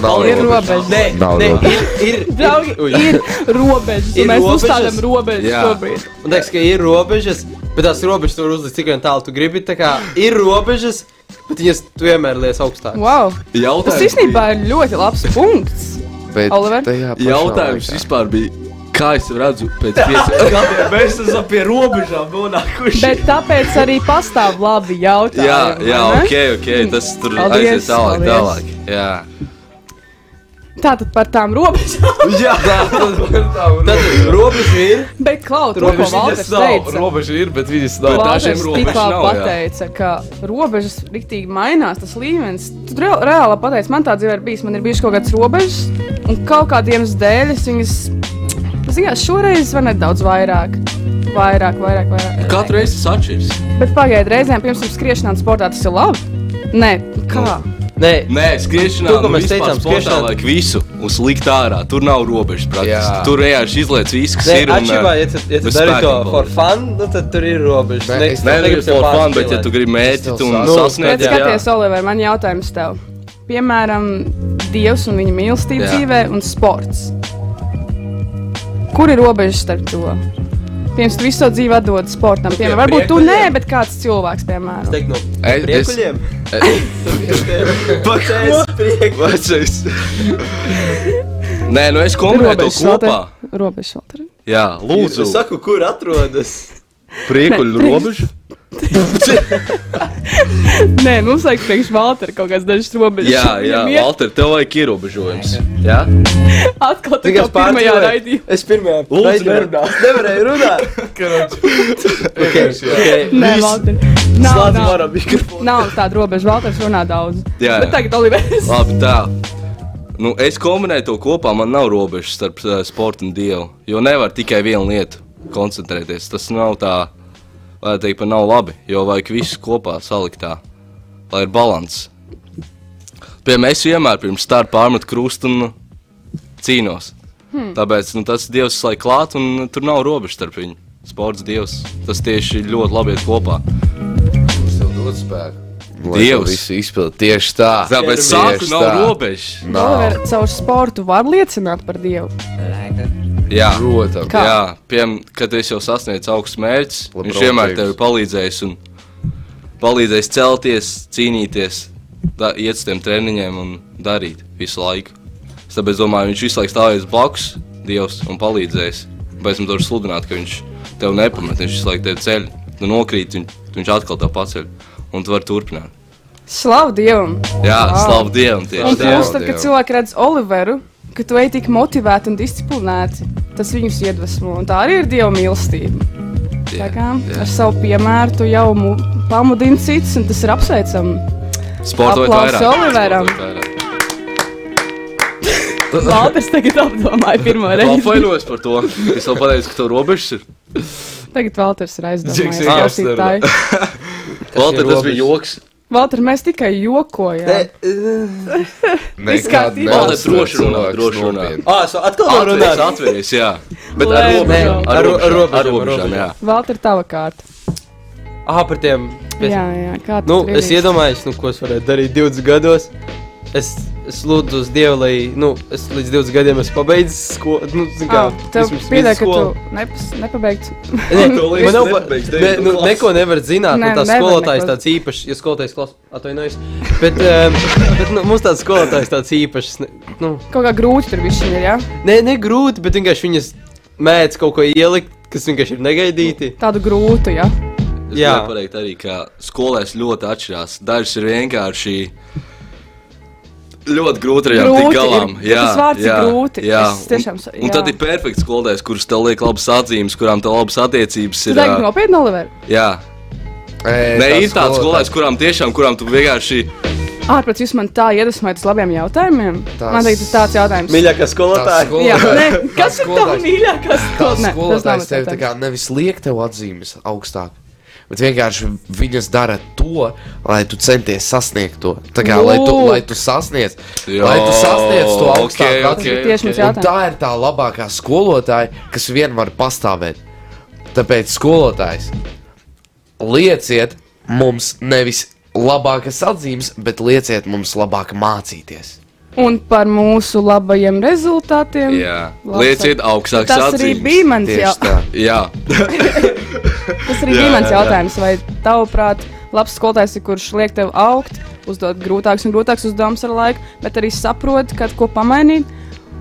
[SPEAKER 5] robe-
[SPEAKER 4] nav
[SPEAKER 5] ir
[SPEAKER 4] robežs.
[SPEAKER 2] robežas.
[SPEAKER 5] Nē,
[SPEAKER 4] Nav
[SPEAKER 5] nē,
[SPEAKER 4] robežas.
[SPEAKER 5] ir, ir,
[SPEAKER 2] Draugi,
[SPEAKER 5] Ui.
[SPEAKER 2] ir robežas,
[SPEAKER 5] Ir
[SPEAKER 2] un mēs
[SPEAKER 5] robežas?
[SPEAKER 2] uzstādām robežas
[SPEAKER 6] Jā.
[SPEAKER 2] šobrīd.
[SPEAKER 5] Man liekas, ka ir robežas, bet tās robežas tu vari uzlikt cik vien tālu tu gribi. Tā kā ir robežas, bet viņas tu vienmēr liec augstāk.
[SPEAKER 2] Wow,
[SPEAKER 6] Jautājums.
[SPEAKER 2] tas īstenībā ir ļoti labs punkts.
[SPEAKER 4] Bet
[SPEAKER 2] Oliver?
[SPEAKER 4] tajā pašā
[SPEAKER 6] Jautājums
[SPEAKER 4] laikā-
[SPEAKER 6] vispār bija, kā es redzu, pēc pieciem gadiem mēs esam pie robežām nonākuši.
[SPEAKER 2] Bet tāpēc arī pastāv labi jautājumi.
[SPEAKER 6] Jā, jā,
[SPEAKER 2] vai ne?
[SPEAKER 6] ok, ok, tas tur
[SPEAKER 2] Paldies,
[SPEAKER 6] aiziet tālāk,
[SPEAKER 2] paldies.
[SPEAKER 6] tālāk. Jā,
[SPEAKER 2] Tātad par tām robežām.
[SPEAKER 6] jā
[SPEAKER 5] Tad robeža ir.
[SPEAKER 2] Bet klaut, ko
[SPEAKER 6] robežas
[SPEAKER 2] Valters
[SPEAKER 6] nav.
[SPEAKER 2] teica.
[SPEAKER 6] Robeža ir, bet viņas nav.
[SPEAKER 2] Valters
[SPEAKER 6] Dažiem
[SPEAKER 2] tikko
[SPEAKER 6] robežas nav. jā.
[SPEAKER 2] pateica, ka robežas riktīgi mainās, tas līmenis. Tu re- reāli pateici, man tā dzīve ir bijusi, man ir bijušas kaut kādas robežas, un kaut kādiem dēļ es viņas, zinām, šoreiz var nedaudz vairāk. Vairāk, vairāk, vairāk.
[SPEAKER 6] Katru reizi tas atšķiras.
[SPEAKER 2] Bet pagaidiet, reizēm pirms tam skriešanā un sportā tas ir labi. Nē, kā?
[SPEAKER 5] Nē,
[SPEAKER 6] Nē, skriešanā
[SPEAKER 5] To, ko mēs teicām,
[SPEAKER 6] skriešanā
[SPEAKER 5] skriešanā-
[SPEAKER 6] vajag visu uzlikt ārā. Tur nav robežas, praktiski.
[SPEAKER 4] Jā.
[SPEAKER 6] Tur vienkārši izliec visu, kas
[SPEAKER 5] nē
[SPEAKER 6] ir. un,
[SPEAKER 5] atšķirībā,
[SPEAKER 6] uh,
[SPEAKER 5] ja tu, ja tu
[SPEAKER 6] bez
[SPEAKER 5] dari to
[SPEAKER 6] spēkiem
[SPEAKER 5] for
[SPEAKER 6] paliec.
[SPEAKER 5] fun, nu, tad tur ir robežas.
[SPEAKER 4] Nē, es-
[SPEAKER 6] Nē, nevis
[SPEAKER 5] tev
[SPEAKER 6] for fun, bet
[SPEAKER 5] pārspīlēt.
[SPEAKER 6] ja tu gribi mērķi
[SPEAKER 4] Still
[SPEAKER 6] un
[SPEAKER 4] sāc.
[SPEAKER 5] Bet
[SPEAKER 2] Bet
[SPEAKER 6] sasniegt,
[SPEAKER 5] jā.
[SPEAKER 2] skaties, Oliver, man jautājums tev. Piemēram, Dievs un viņa mīlestība
[SPEAKER 6] Jā.
[SPEAKER 2] dzīvē un sports. Kur ir robeža starp to? Pirms tu visu savu dzīvi atdod sportam, piemēram, varbūt tu nē, bet kāds cilvēks, piemēram.
[SPEAKER 5] Teik, nu,
[SPEAKER 4] Es- es-
[SPEAKER 5] Priekuļiem? Pakaļ! Priekuļiem!
[SPEAKER 6] Vecais. Nē, nu es kombinēju to kopā.
[SPEAKER 2] Robeža šalteri.
[SPEAKER 6] Jā, lūdzu.
[SPEAKER 5] Lūdzu, saku, kur atrodas?
[SPEAKER 6] Priekuļu robežu.
[SPEAKER 2] Nē, mums vajag priekš Valtera kaut kāds dažs robežas.
[SPEAKER 6] Jā, jā,
[SPEAKER 2] Viņam iet
[SPEAKER 6] Valter, tev vajag ierobežojums. Jā?
[SPEAKER 2] Atkal tā kā
[SPEAKER 5] Tikai
[SPEAKER 2] pirmajā raidījumā.
[SPEAKER 5] Es pirmajā
[SPEAKER 6] Lūdzu,
[SPEAKER 5] raidījumā
[SPEAKER 6] nerunā.
[SPEAKER 5] Es nevarēju runāt.
[SPEAKER 6] Vienkārši, jā.
[SPEAKER 2] Nē,
[SPEAKER 5] Nē,
[SPEAKER 2] Valter. Nav,
[SPEAKER 5] Slēdz
[SPEAKER 2] nav,
[SPEAKER 5] varam mikrofonu.
[SPEAKER 2] nav tāda robeža. Valters runā daudz.
[SPEAKER 6] Jā,
[SPEAKER 2] Bet
[SPEAKER 6] jā.
[SPEAKER 2] tagad Olivers.
[SPEAKER 6] Labi, tā. Nu, es kombinēju to kopā, man nav robežas starp eh, sportu un dievu. Jo nevar tikai vienu lietu koncentrēties. Tas nav tā, varētu teikt, pa nav labi. Jo vajag visu kopā salikt tā, lai ir līdzsvars. Piemēram, es vienmēr pirms starta pārmetu krustu un cīnos. Hmm. Tāpēc nu, tas dievs lai klāt, un tur nav robežas starp viņiem. Sports dievs. Tas tieši ļoti labi iet kopā.
[SPEAKER 4] Dievs tev dod spēku. Lai
[SPEAKER 6] Dievs.
[SPEAKER 4] Dievs visu izpildītu tieši tā.
[SPEAKER 6] Tāpēc
[SPEAKER 4] Tieši
[SPEAKER 6] sāku nav
[SPEAKER 4] tā.
[SPEAKER 6] robežas.
[SPEAKER 4] Nav.
[SPEAKER 2] Oliver, caur sportu var liecināt par Dievu.
[SPEAKER 6] Jā.
[SPEAKER 4] Protams.
[SPEAKER 2] Kā?
[SPEAKER 6] Kā? Jā, piemēram, kad es jau sasniedzu augstu mērķus,
[SPEAKER 4] Labprāt,
[SPEAKER 6] viņš vienmēr
[SPEAKER 4] teiks.
[SPEAKER 6] tev ir palīdzējis un palīdzējis celties, cīnīties, da, iet uz tiem treniņiem un darīt visu laiku. Es tāpēc domāju, viņš visu laiku stāvēs blakus, Dievs, un palīdzēs. Bez tam tur sludināt, ka viņš tev nepamet, viņš visu laiku tevi ceļ, tu nokrīt, viņš, viņš atkal tev paceļ. Un tu vari turpināt.
[SPEAKER 2] Slavu Dievam!
[SPEAKER 6] Jā,
[SPEAKER 2] Vau.
[SPEAKER 6] slavu Dievam!
[SPEAKER 2] Un
[SPEAKER 6] Tieši tā!
[SPEAKER 2] plus, tad, kad
[SPEAKER 4] Dievam.
[SPEAKER 2] cilvēki redz Oliveru, ka tu ej tik motivēti un disciplinēti, tas viņus iedvesmo. Un tā arī ir Dieva mīlestība. Tā kā ar savu piemēru tu jau mu- pamudini cits, un tas ir apsveicami.
[SPEAKER 6] Sportot
[SPEAKER 2] Aplausi
[SPEAKER 6] vairāk!
[SPEAKER 2] Oliveram.
[SPEAKER 6] Sportot vairāk.
[SPEAKER 2] Valters tagad apdomāja pirmo reizi.
[SPEAKER 6] Apvainojos par to! Es vēl pateicu, ka tev robežas ir!
[SPEAKER 2] Tagad Valters ir aizdomājis
[SPEAKER 6] Džeks vienkārši
[SPEAKER 2] klausītāju.
[SPEAKER 5] ir
[SPEAKER 6] Vēl tad tas
[SPEAKER 5] robežas.
[SPEAKER 6] bija joks.
[SPEAKER 2] Valter, mēs tikai jokojam.
[SPEAKER 4] Nekad
[SPEAKER 2] kārtībā.
[SPEAKER 4] neuzsver
[SPEAKER 6] Valdis, droši runā,
[SPEAKER 4] cilvēks
[SPEAKER 6] droši runā.
[SPEAKER 4] nopietni.
[SPEAKER 5] Ā, es atkal nav
[SPEAKER 6] Atveries,
[SPEAKER 5] runāt.
[SPEAKER 6] atveries, jā. Bet ar
[SPEAKER 2] Lēnām.
[SPEAKER 6] robežām,
[SPEAKER 5] Ar
[SPEAKER 6] ar
[SPEAKER 5] ro- ar
[SPEAKER 6] robežām, ar
[SPEAKER 5] robežām, ar
[SPEAKER 6] robežām, jā.
[SPEAKER 2] Valter, tava kārta.
[SPEAKER 5] Ā, par tiem.
[SPEAKER 2] Jā, jā, kā tu
[SPEAKER 5] Nu,
[SPEAKER 2] tur
[SPEAKER 5] es
[SPEAKER 2] ieliec?
[SPEAKER 5] iedomājos, nu, ko es varētu darīt 20 gados. Es, es lūdzu uz Dievu, lai, nu, es līdz 20 gadiem esmu pabeidzis skolu. Nu, zin kā,
[SPEAKER 2] Ā, Tev
[SPEAKER 5] vismaz
[SPEAKER 2] pieder, ka
[SPEAKER 5] vidusskolu.
[SPEAKER 2] tu nepas- nepabeigts
[SPEAKER 5] Nē,
[SPEAKER 6] Tu līdz
[SPEAKER 5] man nav pa-
[SPEAKER 6] nepabeigsi
[SPEAKER 5] ne- nu,
[SPEAKER 6] devīto klasi.
[SPEAKER 5] Neko nevar zināt,
[SPEAKER 2] Nē,
[SPEAKER 5] ne, tā
[SPEAKER 2] nevar
[SPEAKER 5] skolotājs
[SPEAKER 2] neko.
[SPEAKER 5] tāds īpašs, ja skolotājs klausās, atvainojos. Bet, um, bet nu, mums tāds skolotājs tāds īpašs. Ne, nu,
[SPEAKER 2] kaut kā grūti tur viss ir. Ja?
[SPEAKER 5] ne, ne grūti, bet vienkārši viņas mēdz kaut ko ielikt, kas vienkārši ir negaidīti.
[SPEAKER 2] Tādu grūtu, ja?
[SPEAKER 6] Es
[SPEAKER 5] Jā.
[SPEAKER 6] gribēju pateikt arī, ka skolēs ļoti atšķirās. Dažas ir vienkārši ļoti grūti ar
[SPEAKER 2] Grūti
[SPEAKER 6] tām
[SPEAKER 2] ir,
[SPEAKER 6] galām.
[SPEAKER 2] bet tas vārds ir grūti.
[SPEAKER 6] Jā,
[SPEAKER 2] Es tiešām sa-
[SPEAKER 6] un, un tad
[SPEAKER 2] jā.
[SPEAKER 6] ir perfekts skolēs, kurus tev liek labas atzīmes, kurām tev labas attiecības
[SPEAKER 2] Tu
[SPEAKER 6] ir.
[SPEAKER 2] tagad nopietni, Oliver.
[SPEAKER 6] jā,
[SPEAKER 4] Ei,
[SPEAKER 6] Nē,
[SPEAKER 4] tā
[SPEAKER 6] ir tāds
[SPEAKER 4] skolotāja.
[SPEAKER 6] skolēns, kurām tiešām, kurām tu vienkārši
[SPEAKER 2] Ārpus jūs man tā iedvesmojat uz labiem jautājumiem.
[SPEAKER 4] Tas-
[SPEAKER 2] Tas... Man liekas, tas tāds jautājums.
[SPEAKER 5] Mīļākā
[SPEAKER 4] Tas
[SPEAKER 5] skolotāja.
[SPEAKER 2] Jā, nē, kas
[SPEAKER 4] skolotājs- tas
[SPEAKER 2] ir tā
[SPEAKER 4] skolotājs-
[SPEAKER 2] mīļākā
[SPEAKER 4] tā
[SPEAKER 2] skola? Nē, tas nav
[SPEAKER 4] skolotājs tevi tā
[SPEAKER 2] jautājums.
[SPEAKER 4] kā nevis liek tev atzīmes augstāk. Bet vienkārši viņas dara to, lai tu centies sasniegt to. Tā kā, lai tu,
[SPEAKER 2] Lūk.
[SPEAKER 4] lai tu sasniedz,
[SPEAKER 6] Jo,
[SPEAKER 4] lai tu sasniedz to
[SPEAKER 6] ok,
[SPEAKER 4] augstāko
[SPEAKER 6] ok,
[SPEAKER 4] atzīmi.
[SPEAKER 2] Tas bija tieši mans
[SPEAKER 4] Un
[SPEAKER 2] jautājums.
[SPEAKER 4] tā ir tā labākā skolotāja, kas vien var pastāvēt. Tāpēc skolotājs lieciet mums nevis labākas atzīmes, bet lieciet mums labāk mācīties.
[SPEAKER 2] Un par mūsu labajiem rezultātiem.
[SPEAKER 6] Jā,
[SPEAKER 2] Labs
[SPEAKER 6] lieciet
[SPEAKER 2] ar-
[SPEAKER 6] augstākas
[SPEAKER 2] Tas arī
[SPEAKER 6] atzīmes.
[SPEAKER 2] bija mans, jau,
[SPEAKER 4] Tieši tā.
[SPEAKER 6] Jā,
[SPEAKER 2] tas arī bija mans jautājums. Vai tavuprāt, labs skolotājs ir kurš liek tev augt, uzdot grūtākus un grūtākus uzdevumus ar laiku, bet arī saprot, kad ko pamainīt,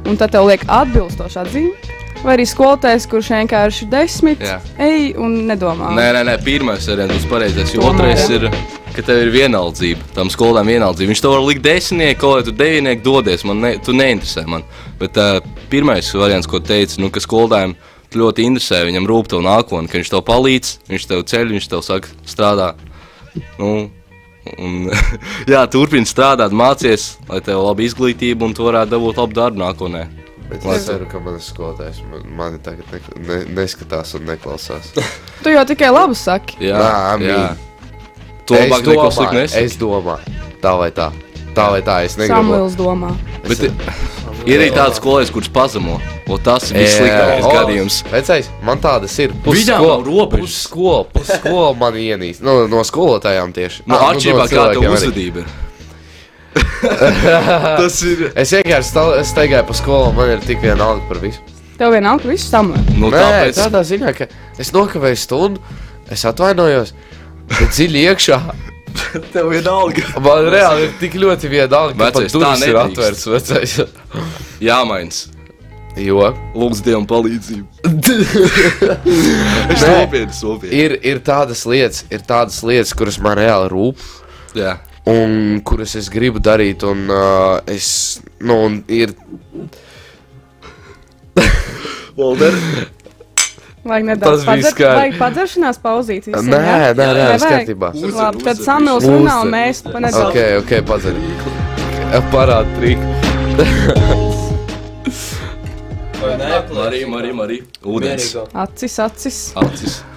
[SPEAKER 2] un tad tev liek atbilstošā dzīve? Vai arī skolotājs, kurš vienkārši desmit,
[SPEAKER 6] Jā.
[SPEAKER 2] ej un nedomā.
[SPEAKER 6] nē, nē, nē pirmais ir viens pareizais. jo
[SPEAKER 2] Tomēr, jā.
[SPEAKER 6] Otrais ir, ka tev ir vienaldzība. Tam skolām vienaldzība. Viņš tev var likt desmitnieku, kaut vai tu devinieki dodies. Man ne, tu neinteresē man. Bet uh, pirmais variants, ko teica, nu, ka skolotājiem tu ļoti interesē, viņam rūp tev nākotne, ka viņš tev palīdz, viņš tev ceļ, viņš tev saka, strādā. Nu, Un, jā, turpini strādāt, mācies, lai tev būtu laba izglītība un tu varētu dabūt labu darbu nākotnē.
[SPEAKER 4] Bet
[SPEAKER 6] Lai
[SPEAKER 4] es
[SPEAKER 6] tev-
[SPEAKER 4] ceru, ka manas skolotājas man, mani tagad ne, ne, neskatās un neklausās.
[SPEAKER 2] Tu jau tikai labu saki.
[SPEAKER 6] Jā,
[SPEAKER 4] Nā, amī.
[SPEAKER 6] To
[SPEAKER 4] Es
[SPEAKER 6] labāk domās,
[SPEAKER 4] domāju,
[SPEAKER 6] likt nesaki.
[SPEAKER 4] Es domāju, tā vai tā. Tā vai tā, es negribu.
[SPEAKER 2] Samuēls domā.
[SPEAKER 6] Bet ir arī tāds skolēns, kurš pazemo. O tas ir
[SPEAKER 4] Jā.
[SPEAKER 6] vissliktākais
[SPEAKER 4] O,
[SPEAKER 6] gadījums.
[SPEAKER 4] Vecais, man tādas ir.
[SPEAKER 6] Viņām nav robežas.
[SPEAKER 4] Pusskola, pusskola man ienīst. Nu, No, no skolotājām tieši.
[SPEAKER 6] No
[SPEAKER 4] Ā,
[SPEAKER 6] atšķirībā no kāda
[SPEAKER 4] cilvēkiem nu, arī.
[SPEAKER 6] uzvedība ir. tas ir.
[SPEAKER 4] Es vienkārši stau- es staigāju pa skolu, man ir tik viena alga par visu.
[SPEAKER 2] Tev vienalga, ka viss samuēls.
[SPEAKER 6] Nu,
[SPEAKER 4] Nē,
[SPEAKER 6] tāpēc,
[SPEAKER 4] tādā ziņā, ka es nokavēju stundu, es atvainojos, bet dziļi iekšā
[SPEAKER 6] tev ir alga.
[SPEAKER 4] man reāli ir tik ļoti viedalga, ka pat
[SPEAKER 6] Vecais, tā
[SPEAKER 4] durvis ir
[SPEAKER 6] nedrīkst.
[SPEAKER 4] atvērts vecais.
[SPEAKER 6] Jāmains.
[SPEAKER 4] Jo.
[SPEAKER 6] Lūdzu, Dievam palīdzību. Es
[SPEAKER 4] Nē.
[SPEAKER 6] nopietni, nopietni.
[SPEAKER 4] ir, ir tādas lietas, ir tādas lietas, kuras man reāli rūp.
[SPEAKER 6] Jā.
[SPEAKER 4] Un kuras es gribu darīt, un uh, es. Nu, un ir.
[SPEAKER 6] Valder.
[SPEAKER 2] Vajag
[SPEAKER 4] Tas
[SPEAKER 2] nedaudz
[SPEAKER 4] bija
[SPEAKER 2] padzer,
[SPEAKER 4] skaļi.
[SPEAKER 2] vajag padzeršanās pauzīt. Visiem,
[SPEAKER 4] Nē,
[SPEAKER 2] jā?
[SPEAKER 4] nē, nē,
[SPEAKER 2] Vai
[SPEAKER 4] viss
[SPEAKER 2] vajag?
[SPEAKER 4] kārtībā.
[SPEAKER 6] Uz-
[SPEAKER 2] Labi, tad
[SPEAKER 6] Uzzer,
[SPEAKER 2] Samuēls
[SPEAKER 4] uzzer.
[SPEAKER 2] runā un mēs pa nedaudz.
[SPEAKER 4] Ok, ok, padzini. Parādi trīku.
[SPEAKER 6] Marija, Marija, Marija. Ūdens.
[SPEAKER 2] Acis, acis.
[SPEAKER 6] Acis.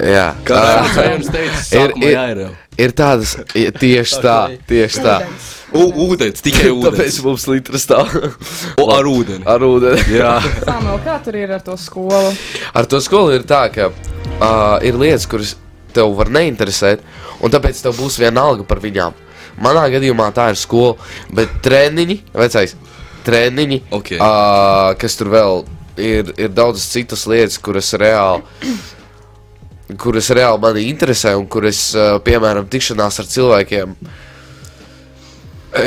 [SPEAKER 4] Jā,
[SPEAKER 6] Kā
[SPEAKER 4] ā,
[SPEAKER 6] jums teica,
[SPEAKER 4] Ah. Ir-
[SPEAKER 6] sākumā
[SPEAKER 4] ir-
[SPEAKER 6] jāierēv.
[SPEAKER 4] ir tādas. i- Tieši tā, tieši tā.
[SPEAKER 6] U- Ūdens, tikai
[SPEAKER 4] Tāpēc Ah.
[SPEAKER 6] ūdens.
[SPEAKER 4] mums litrs stāv
[SPEAKER 6] O, Ar ūdeni.
[SPEAKER 4] ar ūdeni.
[SPEAKER 6] Jā.
[SPEAKER 2] Samuēl, kā tur ir ar to skolu?
[SPEAKER 4] Ar to skolu ir tā, ka uh, ir lietas, kuras tev var neinteresēt, un tāpēc tev būs viena alga par viņām. Manā gadījumā tā ir skola, bet treniņi, vecais, treniņi,
[SPEAKER 6] Ok.
[SPEAKER 4] uh, kas tur vēl ir, ir daudzas citas lietas, kuras reāli. Kuras reāli mani interesē, un kuras, uh, piemēram, tikšanās ar cilvēkiem,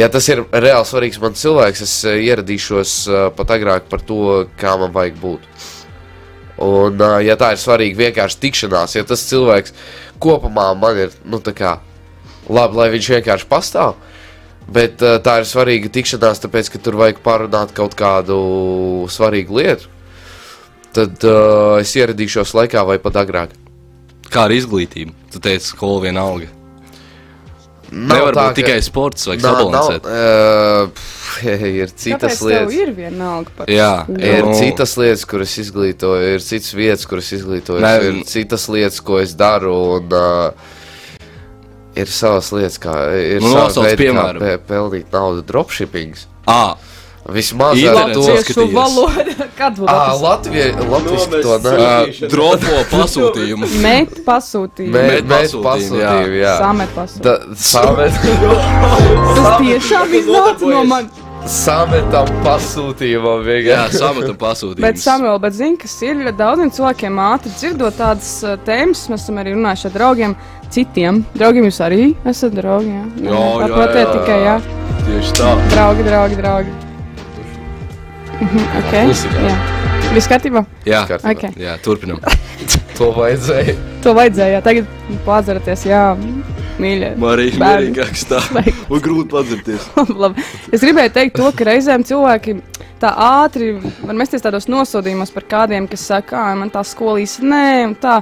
[SPEAKER 4] ja tas ir reāli svarīgs man cilvēks, es eh, ieradīšos eh, pat agrāk par to, kā man vajag būt. Un, eh, ja tā ir svarīga vienkārši tikšanās, ja tas cilvēks kopumā man ir, nu, tā kā labi, lai viņš vienkārši pastāv. Bet eh, tā ir svarīga tikšanās, tāpēc, ka tur vajag pārunāt kaut kādu svarīgu lietu. Tad uh, es ieradīšos laikā vai pat agrāk.
[SPEAKER 6] Kā ar izglītību? Tu teici, skola vienalga.
[SPEAKER 4] Nav
[SPEAKER 6] Nevar
[SPEAKER 4] tā,
[SPEAKER 6] būt
[SPEAKER 4] ka-
[SPEAKER 6] tikai sports, vajag
[SPEAKER 4] Nā, nav,
[SPEAKER 6] sabalansēt.
[SPEAKER 4] eh, pff, ir citas
[SPEAKER 2] Kāpēc
[SPEAKER 4] lietas.
[SPEAKER 2] tev ir vienalga par
[SPEAKER 6] Jā,
[SPEAKER 4] Ir
[SPEAKER 6] nu,
[SPEAKER 4] citas lietas, kuras izglītoju, ir citas vietas, kuras izglītoju,
[SPEAKER 6] Nē,
[SPEAKER 4] ir
[SPEAKER 6] nu-
[SPEAKER 4] citas lietas, ko es daru. Un, uh, ir savas lietas, kā ir
[SPEAKER 6] Nu,
[SPEAKER 4] savs
[SPEAKER 6] nosauc
[SPEAKER 4] veids, kā
[SPEAKER 6] piemēru.
[SPEAKER 4] pe pelnīt naudu dropshipping.
[SPEAKER 6] Ā,
[SPEAKER 4] Vismaz ar to
[SPEAKER 6] Internets.
[SPEAKER 4] Ah,
[SPEAKER 6] Latviešu
[SPEAKER 2] latviešu
[SPEAKER 6] skatījies.
[SPEAKER 2] valodu? Kad būs
[SPEAKER 4] Ā, Latvie- Latviešu to ne.
[SPEAKER 6] ā, dropo pasūtījumu.
[SPEAKER 2] Met pasūtījumu.
[SPEAKER 4] Mē-
[SPEAKER 6] Met
[SPEAKER 4] Mēs
[SPEAKER 6] pasūtījumu, jā.
[SPEAKER 4] pasūtījām, jā.
[SPEAKER 2] Samet pasūtījumu.
[SPEAKER 4] Da- Samet,
[SPEAKER 2] Tas tiešām iznāca no manis.
[SPEAKER 4] sametam pasūtījumam
[SPEAKER 6] Jā,
[SPEAKER 4] vienkārši.
[SPEAKER 6] samata pasūtījums.
[SPEAKER 2] Bet, Samuēl, bet zini, kas ir ļoti daudziem cilvēkiem ātri dzirdot tādas uh, tēmas. Mēs esam arī runājuši ar draugiem, citiem draugiem. Jūs arī esat draugi. Jā, Nē,
[SPEAKER 6] Jā, jā,
[SPEAKER 2] saprotiet
[SPEAKER 6] jā,
[SPEAKER 2] tikai, jā.
[SPEAKER 6] jā. Tieši tā.
[SPEAKER 2] Draugi, draugi, draugi. Mhm, ok.
[SPEAKER 6] Klusi, jā.
[SPEAKER 2] Jā. Viss kārtībā?
[SPEAKER 6] Jā,
[SPEAKER 4] Kārtībā.
[SPEAKER 2] Ok.
[SPEAKER 6] jā turpinam.
[SPEAKER 4] To vajadzēja.
[SPEAKER 2] To vajadzēja. jā. Tagad pazarties, jā, mīļie.
[SPEAKER 6] Marija,
[SPEAKER 2] Bērni.
[SPEAKER 6] mierīgāks tā.
[SPEAKER 2] Vai-
[SPEAKER 6] Un grūti padzirties.
[SPEAKER 2] Labi. Es gribēju teikt to, ka reizēm cilvēki tā ātri var mesties tādos nosodījumos par kādiem, kas saka, ka man tā skolīs nē, un tā.